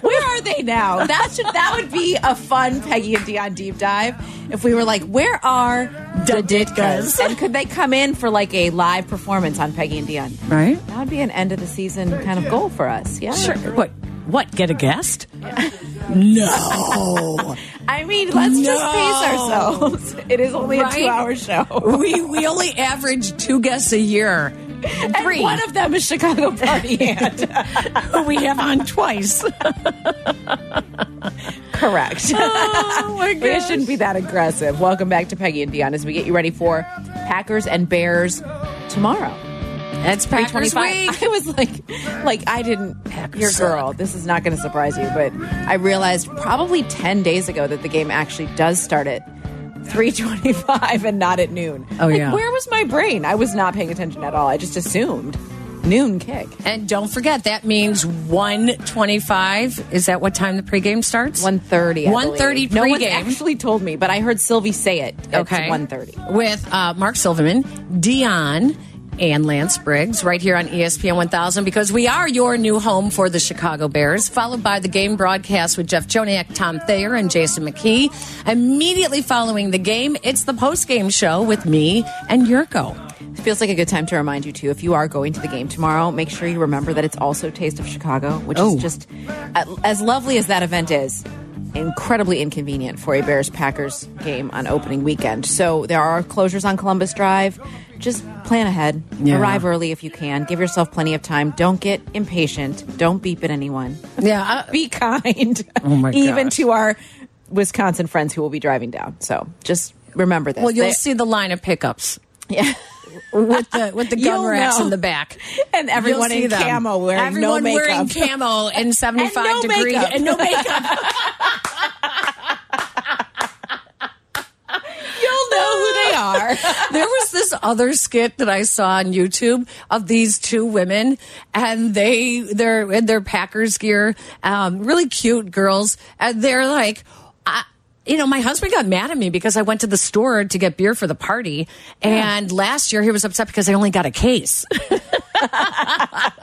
[SPEAKER 6] Where are they now? That should that would be a fun Peggy and Dion deep dive if we were like, where are the Ditkas? And could they come in for like a live performance on Peggy and Dion?
[SPEAKER 5] right?
[SPEAKER 6] That would be an end of the season kind of goal for us. Yeah.
[SPEAKER 5] Sure. What? What? Get a guest? no.
[SPEAKER 6] I mean, let's
[SPEAKER 5] No.
[SPEAKER 6] just pace ourselves. It is only
[SPEAKER 5] Right?
[SPEAKER 6] a two-hour show.
[SPEAKER 5] we we only average two guests a year. Three.
[SPEAKER 6] And one of them is Chicago Party Hand.
[SPEAKER 5] we have on twice.
[SPEAKER 6] Correct.
[SPEAKER 5] Oh my
[SPEAKER 6] Maybe I shouldn't be that aggressive. Welcome back to Peggy and Dion as we get you ready for Packers and Bears tomorrow.
[SPEAKER 5] That's Packers
[SPEAKER 6] 325.
[SPEAKER 5] week.
[SPEAKER 6] I was like, like I didn't. your girl. This is not going to surprise you, but I realized probably ten days ago that the game actually does start at three twenty-five and not at noon.
[SPEAKER 5] Oh,
[SPEAKER 6] Like,
[SPEAKER 5] yeah.
[SPEAKER 6] Where was my brain? I was not paying attention at all. I just assumed noon kick.
[SPEAKER 5] And don't forget that means 125. Is that what time the pregame starts?
[SPEAKER 6] 1.30
[SPEAKER 5] 1:30
[SPEAKER 6] No one's
[SPEAKER 5] pregame.
[SPEAKER 6] actually told me, but I heard Sylvie say it.
[SPEAKER 5] okay.
[SPEAKER 6] 1.30.
[SPEAKER 5] With uh, Mark Silverman, Dion, and Lance Briggs right here on E ESPN 1000 because we are your new home for the Chicago Bears, followed by the game broadcast with Jeff Joniak, Tom Thayer, and Jason McKee. Immediately following the game, it's the post-game show with me and Yurko.
[SPEAKER 6] Feels like a good time to remind you too. If you are going to the game tomorrow, make sure you remember that it's also Taste of Chicago, which
[SPEAKER 5] Oh.
[SPEAKER 6] is just as lovely as that event is. incredibly inconvenient for a Bears Packers game on opening weekend. So there are closures on Columbus Drive. Just plan ahead.
[SPEAKER 5] Yeah.
[SPEAKER 6] Arrive early if you can. Give yourself plenty of time. Don't get impatient. Don't beep at anyone.
[SPEAKER 5] Yeah.
[SPEAKER 6] Be kind.
[SPEAKER 5] Oh my
[SPEAKER 6] Even
[SPEAKER 5] gosh.
[SPEAKER 6] to our Wisconsin friends who will be driving down. So just remember this.
[SPEAKER 5] Well, you'll
[SPEAKER 6] They-
[SPEAKER 5] see the line of pickups
[SPEAKER 6] Yeah.
[SPEAKER 5] with the with the gun
[SPEAKER 6] You'll
[SPEAKER 5] racks
[SPEAKER 6] know.
[SPEAKER 5] in the back.
[SPEAKER 6] And
[SPEAKER 5] You'll
[SPEAKER 6] everyone
[SPEAKER 5] see
[SPEAKER 6] in
[SPEAKER 5] them.
[SPEAKER 6] camo wearing no
[SPEAKER 5] everyone wearing
[SPEAKER 6] makeup.
[SPEAKER 5] camo and seventy five
[SPEAKER 6] no
[SPEAKER 5] degree
[SPEAKER 6] makeup.
[SPEAKER 5] and no makeup.
[SPEAKER 6] You'll know who they are.
[SPEAKER 5] there was this other skit that I saw on YouTube of these two women, and they they're in their Packers gear, um, really cute girls, and they're like. I, you know, my husband got mad at me because I went to the store to get beer for the party. And last year he was upset because I only got a case. I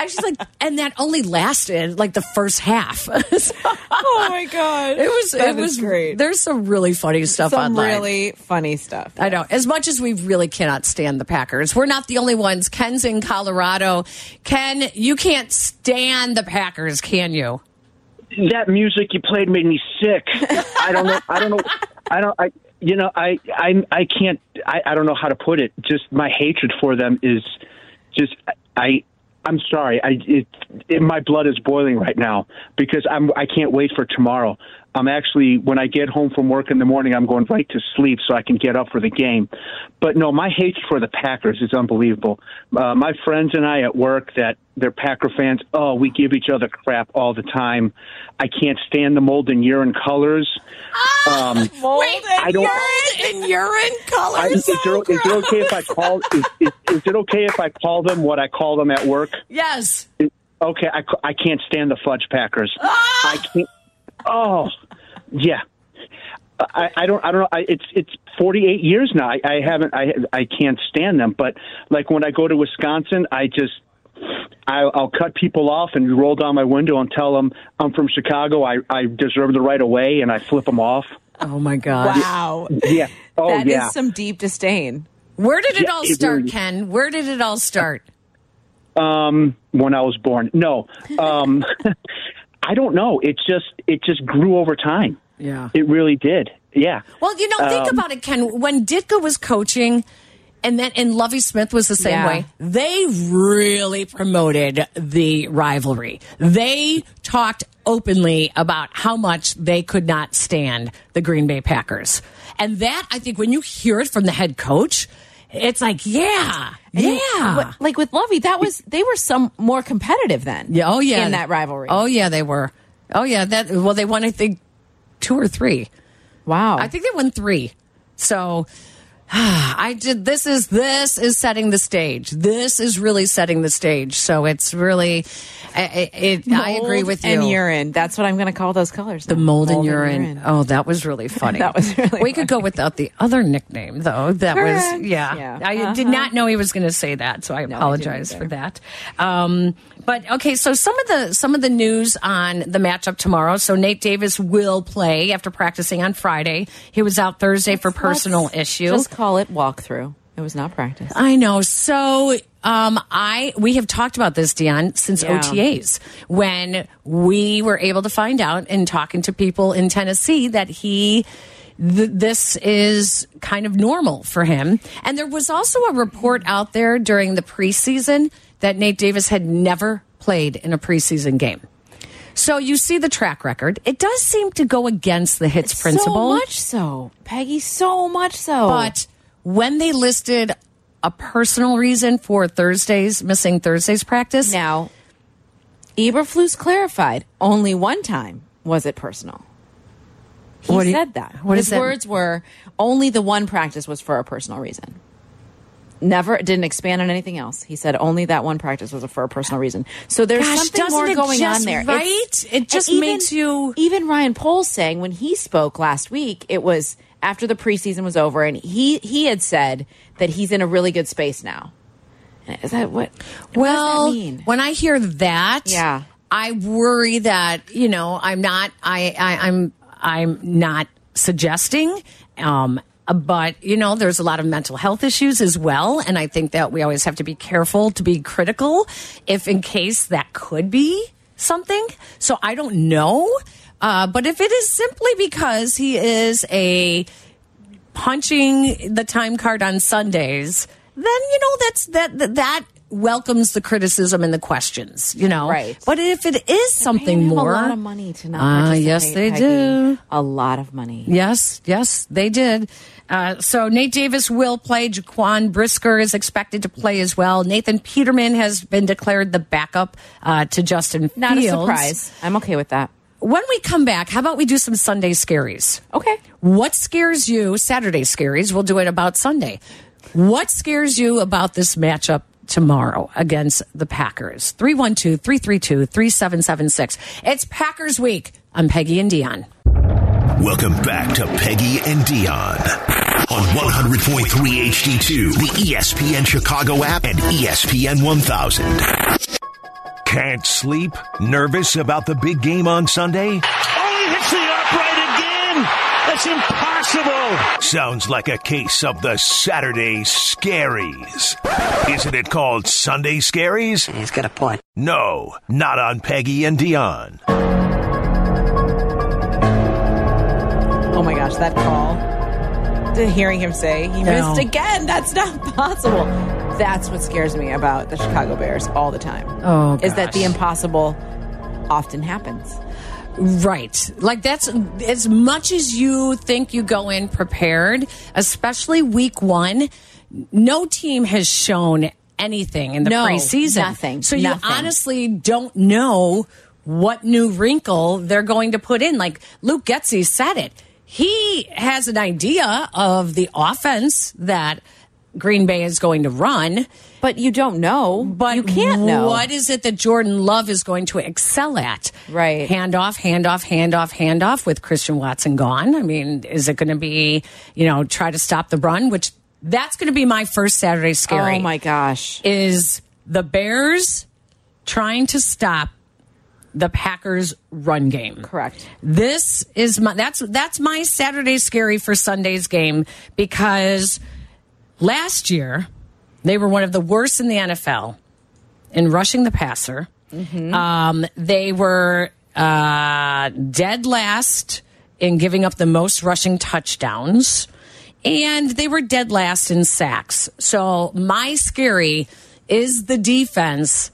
[SPEAKER 5] was just like, and that only lasted like the first half. So,
[SPEAKER 6] oh my god.
[SPEAKER 5] it was,
[SPEAKER 6] That
[SPEAKER 5] it
[SPEAKER 6] is
[SPEAKER 5] was
[SPEAKER 6] great.
[SPEAKER 5] There's some really funny stuff
[SPEAKER 6] Some
[SPEAKER 5] online.
[SPEAKER 6] really funny stuff.
[SPEAKER 5] I know. As much as we really cannot stand the Packers, we're not the only ones. Ken's in Colorado. Ken, you can't stand the Packers, can you?
[SPEAKER 14] that music you played made me sick. I don't know. I don't know. I don't. I. You know. I. I. I can't. I. I don't know how to put it. Just my hatred for them is just. I. I'm sorry. I. It, it. My blood is boiling right now because I'm. I can't wait for tomorrow. I'm actually when I get home from work in the morning, I'm going right to sleep so I can get up for the game. But no, my hatred for the Packers is unbelievable. Uh, my friends and I at work that they're Packer fans. Oh, we give each other crap all the time. I can't stand the mold and urine colors. Um,
[SPEAKER 5] Wait,
[SPEAKER 14] I don't-
[SPEAKER 5] Ah, urine and urine colors.
[SPEAKER 14] I, is, it, is it okay if I call? Is, is, is it okay if I call them what I call them at work?
[SPEAKER 5] yes.
[SPEAKER 14] Okay, I, c- I can't stand the fudge packers. I can't. Oh, yeah. I, I don't. I don't know. I, it's it's 48 years now. I, I haven't. I I can't stand them. But like when I go to Wisconsin, I just I, I'll cut people off and roll down my window and tell them I'm from Chicago. I I deserve the right of way, and I flip them off.
[SPEAKER 5] Oh my God.
[SPEAKER 6] Wow.
[SPEAKER 14] Yeah. Oh
[SPEAKER 6] That is
[SPEAKER 14] yeah.
[SPEAKER 6] some deep disdain.
[SPEAKER 5] Where did it
[SPEAKER 14] Yeah,
[SPEAKER 5] all
[SPEAKER 14] it
[SPEAKER 5] start,
[SPEAKER 14] really-
[SPEAKER 5] Ken? Where did it all start?
[SPEAKER 14] um, when I was born. No, um, I don't know. It just it just grew over time.
[SPEAKER 5] Yeah,
[SPEAKER 14] it really did. Yeah.
[SPEAKER 5] Well, you know, think
[SPEAKER 14] Um,
[SPEAKER 5] about it, Ken. When Ditka was coaching, and then and Lovey Smith was the same
[SPEAKER 6] Yeah.
[SPEAKER 5] way. They really promoted the rivalry. They talked openly about how much they could not stand the Green Bay Packers, and that I think when you hear it from the head coach, it's like, yeah,
[SPEAKER 6] And
[SPEAKER 5] yeah.
[SPEAKER 6] what- like with Lovey, that was they were some more competitive then.
[SPEAKER 5] Yeah, oh yeah,
[SPEAKER 6] In that rivalry.
[SPEAKER 5] Oh yeah, they were. Oh yeah, that well they won I think two or three.
[SPEAKER 6] Wow.
[SPEAKER 5] I think they won three. So I did this is this is setting the stage. This is really setting the stage. So it's really I- I- it, I agree
[SPEAKER 6] Mold
[SPEAKER 5] with you.
[SPEAKER 6] And urine. That's what I'm going to call those colors.
[SPEAKER 5] The mold, and urine. Oh, that was really funny.
[SPEAKER 6] That was really
[SPEAKER 5] we could go without the other nickname though. That
[SPEAKER 6] Correct.
[SPEAKER 5] was yeah.
[SPEAKER 6] Yeah.
[SPEAKER 5] I did
[SPEAKER 6] Uh-huh.
[SPEAKER 5] not know he was going to say that, so I apologize for that. Um, but okay, so some of the some of the news on the matchup tomorrow. So Nate Davis will play after practicing on Friday. He was out Thursday for personal issues.
[SPEAKER 6] Just call it walkthrough. It was not practice.
[SPEAKER 5] I know. So um, I we have talked about this, Dion, since
[SPEAKER 6] Yeah.
[SPEAKER 5] OTAs when we were able to find out and talking to people in Tennessee that he. Th this is kind of normal for him. And there was also a report out there during the preseason that Nate Davis had never played in a preseason game. So you see the track record. It does seem to go against the hits principle.
[SPEAKER 6] So much so, Peggy. So much so.
[SPEAKER 5] But when they listed a personal reason for Thursday's missing Thursday's practice,
[SPEAKER 6] now, Eberflus clarified only one time was it personal. He
[SPEAKER 5] What do you-
[SPEAKER 6] said that.
[SPEAKER 5] what
[SPEAKER 6] His
[SPEAKER 5] does that-
[SPEAKER 6] words were only the one practice was for a personal reason. Never didn't expand on anything else. He said only that one practice was for a personal reason. So there's
[SPEAKER 5] Gosh,
[SPEAKER 6] something
[SPEAKER 5] doesn't
[SPEAKER 6] more
[SPEAKER 5] it
[SPEAKER 6] going
[SPEAKER 5] just
[SPEAKER 6] on there,
[SPEAKER 5] right?
[SPEAKER 6] It's-
[SPEAKER 5] It
[SPEAKER 6] and
[SPEAKER 5] just
[SPEAKER 6] even-
[SPEAKER 5] makes you-
[SPEAKER 6] Even Ryan Pohl saying when he spoke last week, it was after the preseason was over, and he he had said that he's in a really good space now. Is that what?
[SPEAKER 5] well,
[SPEAKER 6] what does that mean?
[SPEAKER 5] when I hear that,
[SPEAKER 6] Yeah.
[SPEAKER 5] I worry that you know I'm not I, I I'm I'm not suggesting, um, but you know there's a lot of mental health issues as well, and I think that we always have to be careful to be critical if in case that could be something. So I don't know. Uh, but if it is simply because he is a punching the time card on Sundays, then you know that's that that, that welcomes the criticism and the questions. You know, right? But if it is something
[SPEAKER 6] him a
[SPEAKER 5] more,
[SPEAKER 6] lot of money to not
[SPEAKER 5] Ah, yes, they
[SPEAKER 6] participate, Peggy.
[SPEAKER 5] do.
[SPEAKER 6] A lot of money.
[SPEAKER 5] Yes, yes, they did. Uh, so Nate Davis will play. Jaquan Brisker is expected to play as well. Nathan Peterman has been declared the backup uh, to Justin
[SPEAKER 6] Not a
[SPEAKER 5] Fields.
[SPEAKER 6] surprise. I'm okay with that.
[SPEAKER 5] When we come back, how about we do some Sunday scaries?
[SPEAKER 6] Okay.
[SPEAKER 5] What scares you? Saturday scaries. We'll do it about Sunday. What scares you about this matchup tomorrow against the Packers? 312 332 3776. It's Packers Week. I'm Peggy and Dion.
[SPEAKER 1] Welcome back to Peggy and Dion on 100.3 HD2, the E ESPN Chicago app, and E ESPN 1000. Can't sleep? Nervous about the big game on Sunday?
[SPEAKER 15] Oh, he hits the upright again. That's impossible.
[SPEAKER 1] Sounds like a case of the Saturday scaries. Isn't it called Sunday scaries? He's got a point. No, not on Peggy and Dion.
[SPEAKER 6] Oh my gosh, that call. To hearing him say he
[SPEAKER 5] No.
[SPEAKER 6] missed again, that's not possible. That's what scares me about the Chicago Bears all the time.
[SPEAKER 5] Oh,
[SPEAKER 6] is that the
[SPEAKER 5] gosh.
[SPEAKER 6] impossible often happens?
[SPEAKER 5] Right. Like that's as much as you think you go in prepared, especially week one, no team has shown anything in the
[SPEAKER 6] No,
[SPEAKER 5] preseason.
[SPEAKER 6] nothing,
[SPEAKER 5] So you
[SPEAKER 6] nothing.
[SPEAKER 5] honestly don't know what new wrinkle they're going to put in. Like Luke Getzey said it. He has an idea of the offense that Green Bay is going to run.
[SPEAKER 6] But you don't know.
[SPEAKER 5] But you
[SPEAKER 6] can't know.
[SPEAKER 5] What is it that Jordan Love is going to excel at?
[SPEAKER 6] Right.
[SPEAKER 5] Handoff, handoff, handoff, handoff with Christian Watson gone. I mean, is it going to be, you know, try to stop the run, which that's going to be my first Saturday scary.
[SPEAKER 6] Oh my gosh.
[SPEAKER 5] Is the Bears trying to stop the Packers run game?
[SPEAKER 6] Correct.
[SPEAKER 5] This is my that's that's my Saturday scary for Sunday's game because last year they were one of the worst in the NFL in rushing the passer. Um, they were uh, dead last in giving up the most rushing touchdowns, and they were dead last in sacks. So, my scary is the defense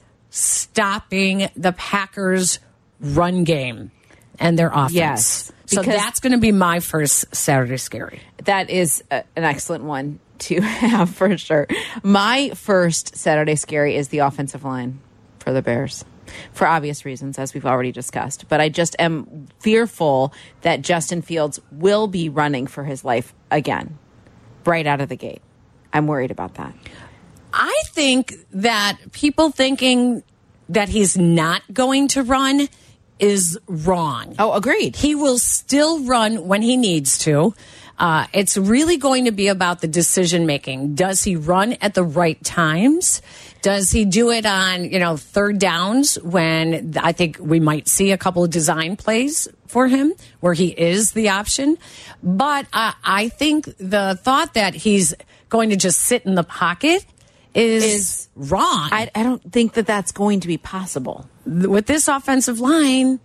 [SPEAKER 5] stopping the Packers' run game and their offense.
[SPEAKER 6] Yes,
[SPEAKER 5] So
[SPEAKER 6] because-
[SPEAKER 5] that's going to be my first Saturday scary.
[SPEAKER 6] That is a, an excellent one to have for sure. My first Saturday scary is the offensive line for the Bears for obvious reasons, as we've already discussed. But I just am fearful that Justin Fields will be running for his life again right out of the gate. I'm worried about that.
[SPEAKER 5] I think that people thinking that he's not going to run is wrong.
[SPEAKER 6] Oh, agreed.
[SPEAKER 5] He will still run when he needs to. Uh, it's really going to be about the decision making. Does he run at the right times? Does he do it on you know third downs when I think we might see a couple of design plays for him where he is the option? But uh, I think the thought that he's going to just sit in the pocket is,
[SPEAKER 6] Is-
[SPEAKER 5] wrong
[SPEAKER 6] I, I don't think that that's going to be possible.
[SPEAKER 5] with this offensive line.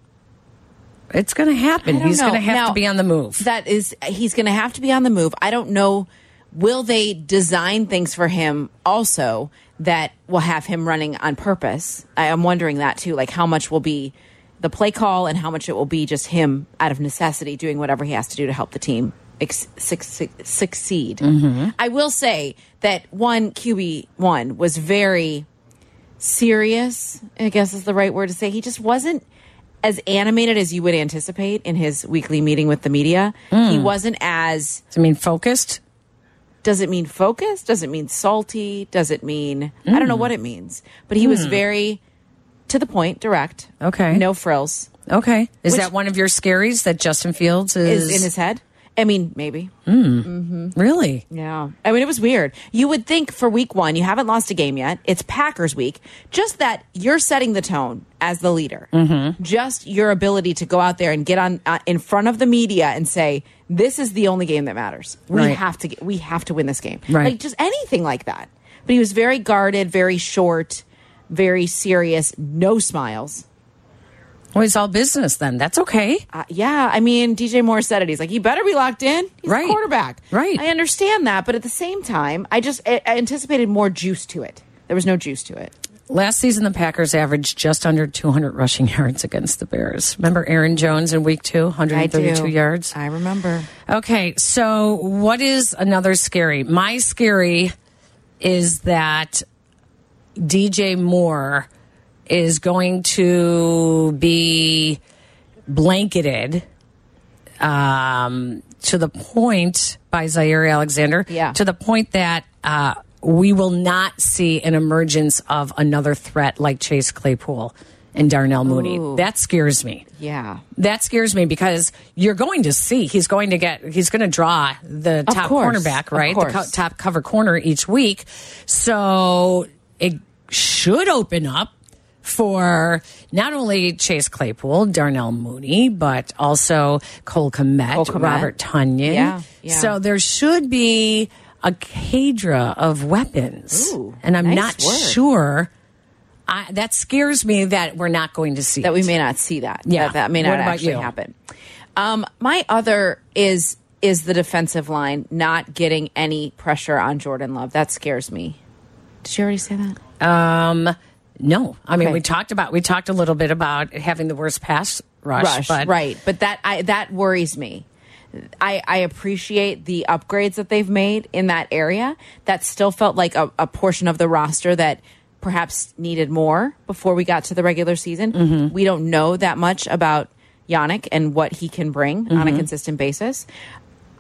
[SPEAKER 5] It's going to
[SPEAKER 6] I
[SPEAKER 5] happen.
[SPEAKER 6] don't
[SPEAKER 5] He's
[SPEAKER 6] know.
[SPEAKER 5] going to have
[SPEAKER 6] Now,
[SPEAKER 5] to be on the move.
[SPEAKER 6] That is, he's going to have to be on the move. I don't know. Will they design things for him also that will have him running on purpose? I am wondering that too. Like how much will be the play call and how much it will be just him out of necessity doing whatever he has to do to help the team ex- suc- suc- succeed.
[SPEAKER 5] Mm-hmm.
[SPEAKER 6] I will say that one QB one was very serious, I guess is the right word to say. He just wasn't as animated as you would anticipate in his weekly meeting with the media. He
[SPEAKER 5] Mm.
[SPEAKER 6] wasn't as
[SPEAKER 5] I mean, focused.
[SPEAKER 6] does it mean focused? Does it mean salty? Does it mean I don't know
[SPEAKER 5] Mm.
[SPEAKER 6] what it means. But he was very to the point, direct.
[SPEAKER 5] Okay.
[SPEAKER 6] No frills.
[SPEAKER 5] Okay. Is
[SPEAKER 6] Which-
[SPEAKER 5] that one of your scaries that Justin Fields is,
[SPEAKER 6] Is, in his head. I mean, maybe.
[SPEAKER 5] Really?
[SPEAKER 6] Yeah. I mean, it was weird. You would think for week one, you haven't lost a game yet. It's Packers week. Just that you're setting the tone as the leader.
[SPEAKER 5] Mm-hmm.
[SPEAKER 6] Just your ability to go out there and get on uh, in front of the media and say, this is the only game that matters. We
[SPEAKER 5] Right.
[SPEAKER 6] have to get, we have to win this game.
[SPEAKER 5] Right.
[SPEAKER 6] Like just anything like that. But he was very guarded, very short, very serious, no smiles.
[SPEAKER 5] Well, he's all business then. That's okay.
[SPEAKER 6] Uh, yeah, I mean, DJ Moore said it. He's like, he better be locked in. He's right. a quarterback. Right. I understand that, but at the same time, I just I I anticipated more juice to it. There was no juice to it.
[SPEAKER 5] Last season, the Packers averaged just under 200 rushing yards against the Bears. Remember Aaron Jones in week two, 132
[SPEAKER 6] I do.
[SPEAKER 5] yards?
[SPEAKER 6] I remember.
[SPEAKER 5] Okay, so what is another scary? My scary is that DJ Moore is going to be blanketed um, to the point by Zaire Alexander, yeah. to the point that uh, we will not see an emergence of another threat like Chase Claypool and Darnell Mooney.
[SPEAKER 6] Ooh.
[SPEAKER 5] That scares me.
[SPEAKER 6] Yeah.
[SPEAKER 5] That scares me because you're going to see he's going to get he's going to draw the
[SPEAKER 6] Of
[SPEAKER 5] top
[SPEAKER 6] course,
[SPEAKER 5] cornerback
[SPEAKER 6] of
[SPEAKER 5] right the co
[SPEAKER 6] course.
[SPEAKER 5] top cover corner each week, so it should open up for not only Chase Claypool, Darnell Mooney, but also Cole Komet,
[SPEAKER 6] Cole Kmet.
[SPEAKER 5] Robert Tunyon.
[SPEAKER 6] Yeah, yeah.
[SPEAKER 5] So there should be a cadre of weapons,
[SPEAKER 6] Ooh,
[SPEAKER 5] and I'm
[SPEAKER 6] nice
[SPEAKER 5] not
[SPEAKER 6] word.
[SPEAKER 5] sure. I, that scares me that we're not going to see
[SPEAKER 6] that we
[SPEAKER 5] it.
[SPEAKER 6] may not see that.
[SPEAKER 5] Yeah.
[SPEAKER 6] that, that may
[SPEAKER 5] What
[SPEAKER 6] not
[SPEAKER 5] about
[SPEAKER 6] actually
[SPEAKER 5] you?
[SPEAKER 6] happen. Um, my other is is the defensive line not getting any pressure on Jordan Love. That scares me. Did you already say that?
[SPEAKER 5] Um, no, I mean
[SPEAKER 6] Okay.
[SPEAKER 5] we talked about we talked a little bit about having the worst pass rush, but
[SPEAKER 6] right? But that I, that worries me. I, I appreciate the upgrades that they've made in that area. That still felt like a, a portion of the roster that perhaps needed more before we got to the regular season.
[SPEAKER 5] Mm-hmm.
[SPEAKER 6] We don't know that much about Yannick and what he can bring on a
[SPEAKER 5] Mm-hmm.
[SPEAKER 16] Mhm.
[SPEAKER 6] consistent basis.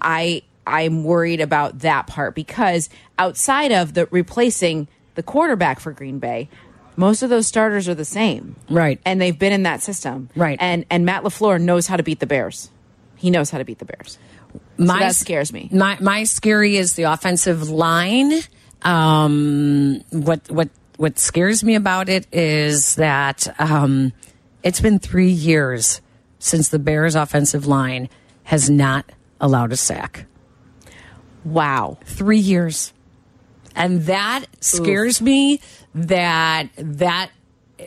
[SPEAKER 6] I I'm worried about that part because outside of the replacing the quarterback for Green Bay, most of those starters are the same.
[SPEAKER 5] Right.
[SPEAKER 6] And they've been in that system.
[SPEAKER 5] Right.
[SPEAKER 6] And and Matt LaFleur knows how to beat the Bears. He knows how to beat the Bears. so that scares me.
[SPEAKER 5] My my scary is the offensive line. Um, what what what scares me about it is that um, it's been three years since the Bears' offensive line has not allowed a sack.
[SPEAKER 6] Wow,
[SPEAKER 5] three years, and that scares me. That that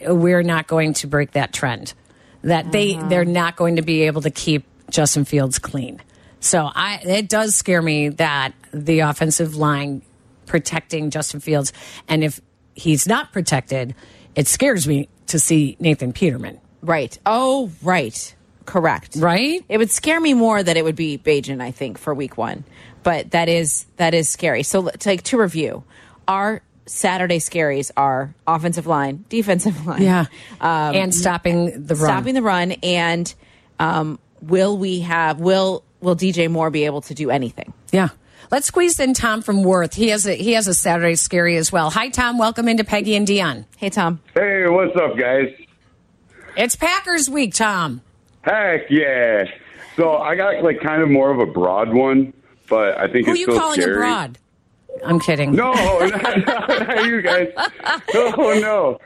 [SPEAKER 5] we're not going to break that trend. That they
[SPEAKER 6] Uh-huh.
[SPEAKER 5] they're not going to be able to keep Justin Fields clean. So I it does scare me that the offensive line protecting Justin Fields, and if he's not protected, it scares me to see Nathan Peterman.
[SPEAKER 6] Right. Oh, right. Correct.
[SPEAKER 5] Right?
[SPEAKER 6] It would scare me more that it would be Bajan, I think, for week one. But that is that is scary. So to, like to review, our Saturday scaries are offensive line, defensive line.
[SPEAKER 5] Yeah.
[SPEAKER 6] Um,
[SPEAKER 5] And stopping the run.
[SPEAKER 6] Stopping the run and um, will we have will will DJ Moore be able to do anything?
[SPEAKER 5] Yeah. Let's squeeze in Tom from Worth. He has a he has a Saturday scary as well. Hi Tom, welcome into Peggy and Dion.
[SPEAKER 6] Hey Tom.
[SPEAKER 17] Hey, what's up, guys?
[SPEAKER 5] It's Packers week, Tom.
[SPEAKER 17] Heck yeah! So I got like kind of more of a broad one, but I think
[SPEAKER 5] Who
[SPEAKER 17] it's
[SPEAKER 5] you
[SPEAKER 17] still
[SPEAKER 5] calling
[SPEAKER 17] scary.
[SPEAKER 5] abroad? I'm kidding.
[SPEAKER 17] No, not, not, not you guys. No, no.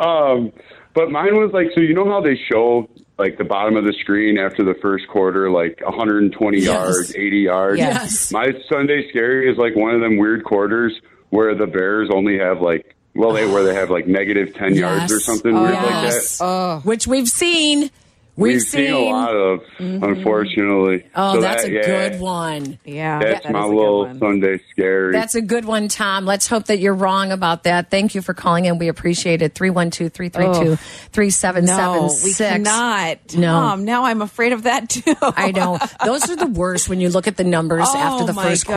[SPEAKER 17] Um, but mine was like so. You know how they show like the bottom of the screen after the first quarter, like 120
[SPEAKER 18] Yes.
[SPEAKER 17] yards, 80 yards.
[SPEAKER 18] Yes.
[SPEAKER 17] My Sunday scary is like one of them weird quarters where the Bears only have like well they where they have like negative 10 yards or something
[SPEAKER 6] Oh,
[SPEAKER 17] weird like that.
[SPEAKER 5] Which we've seen. We've,
[SPEAKER 17] We've, seen, a lot of, unfortunately.
[SPEAKER 5] Oh,
[SPEAKER 17] So
[SPEAKER 5] that's
[SPEAKER 17] that-
[SPEAKER 5] a
[SPEAKER 17] yeah,
[SPEAKER 5] good one.
[SPEAKER 6] Yeah.
[SPEAKER 17] That's my little Sunday scary.
[SPEAKER 5] That's a good one, Tom. Let's hope that you're wrong about that. Thank you for calling in. We appreciate it. 312 332
[SPEAKER 6] Oh. No, we
[SPEAKER 5] 3776.
[SPEAKER 6] cannot. Tom, now I'm afraid of that too.
[SPEAKER 5] I know. Those are the worst when you look at the numbers
[SPEAKER 6] Oh,
[SPEAKER 5] after the
[SPEAKER 6] my
[SPEAKER 5] first
[SPEAKER 6] gosh,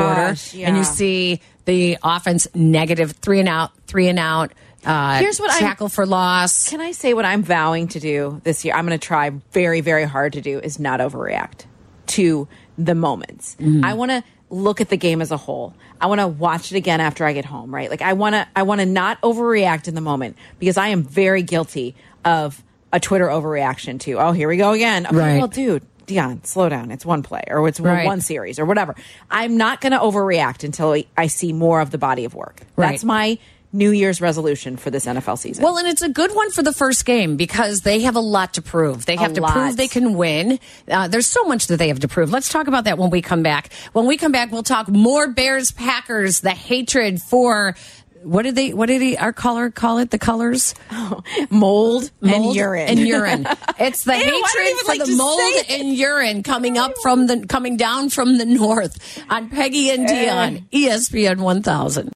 [SPEAKER 5] quarter and
[SPEAKER 6] yeah.
[SPEAKER 5] you see the offense negative, three and out, three and out. Uh,
[SPEAKER 6] Here's what I'm-
[SPEAKER 5] tackle for loss.
[SPEAKER 6] Can I say what I'm vowing to do this year? I'm going to try very, very hard to do is not overreact to the moments.
[SPEAKER 16] Mhm.
[SPEAKER 6] I want to look at the game as a whole. I want to watch it again after I get home, right? Like I want to I want to not overreact in the moment because I am very guilty of a Twitter overreaction to, oh, here we go again. Okay,
[SPEAKER 16] Right.
[SPEAKER 6] Well, dude, Dion, slow down. It's one play or it's
[SPEAKER 16] Right.
[SPEAKER 6] one series or whatever. I'm not going to overreact until I- I see more of the body of work.
[SPEAKER 5] Right.
[SPEAKER 6] That's my New Year's resolution for this NFL season.
[SPEAKER 5] Well, and it's a good one for the first game because they have a lot to prove. They have to
[SPEAKER 6] lot.
[SPEAKER 5] prove they can win. Uh, there's so much that they have to prove. Let's talk about that when we come back. When we come back, we'll talk more Bears Packers, the hatred for What did they? What did he? Our caller call it the colors,
[SPEAKER 6] mold,
[SPEAKER 5] Mold and urine. It's the
[SPEAKER 6] Ew, I don't
[SPEAKER 5] hatred
[SPEAKER 6] even
[SPEAKER 5] for
[SPEAKER 6] like to
[SPEAKER 5] the
[SPEAKER 6] say
[SPEAKER 5] mold
[SPEAKER 6] it.
[SPEAKER 5] and urine coming up E from the coming down from the north on Peggy and Dion, ESPN one thousand.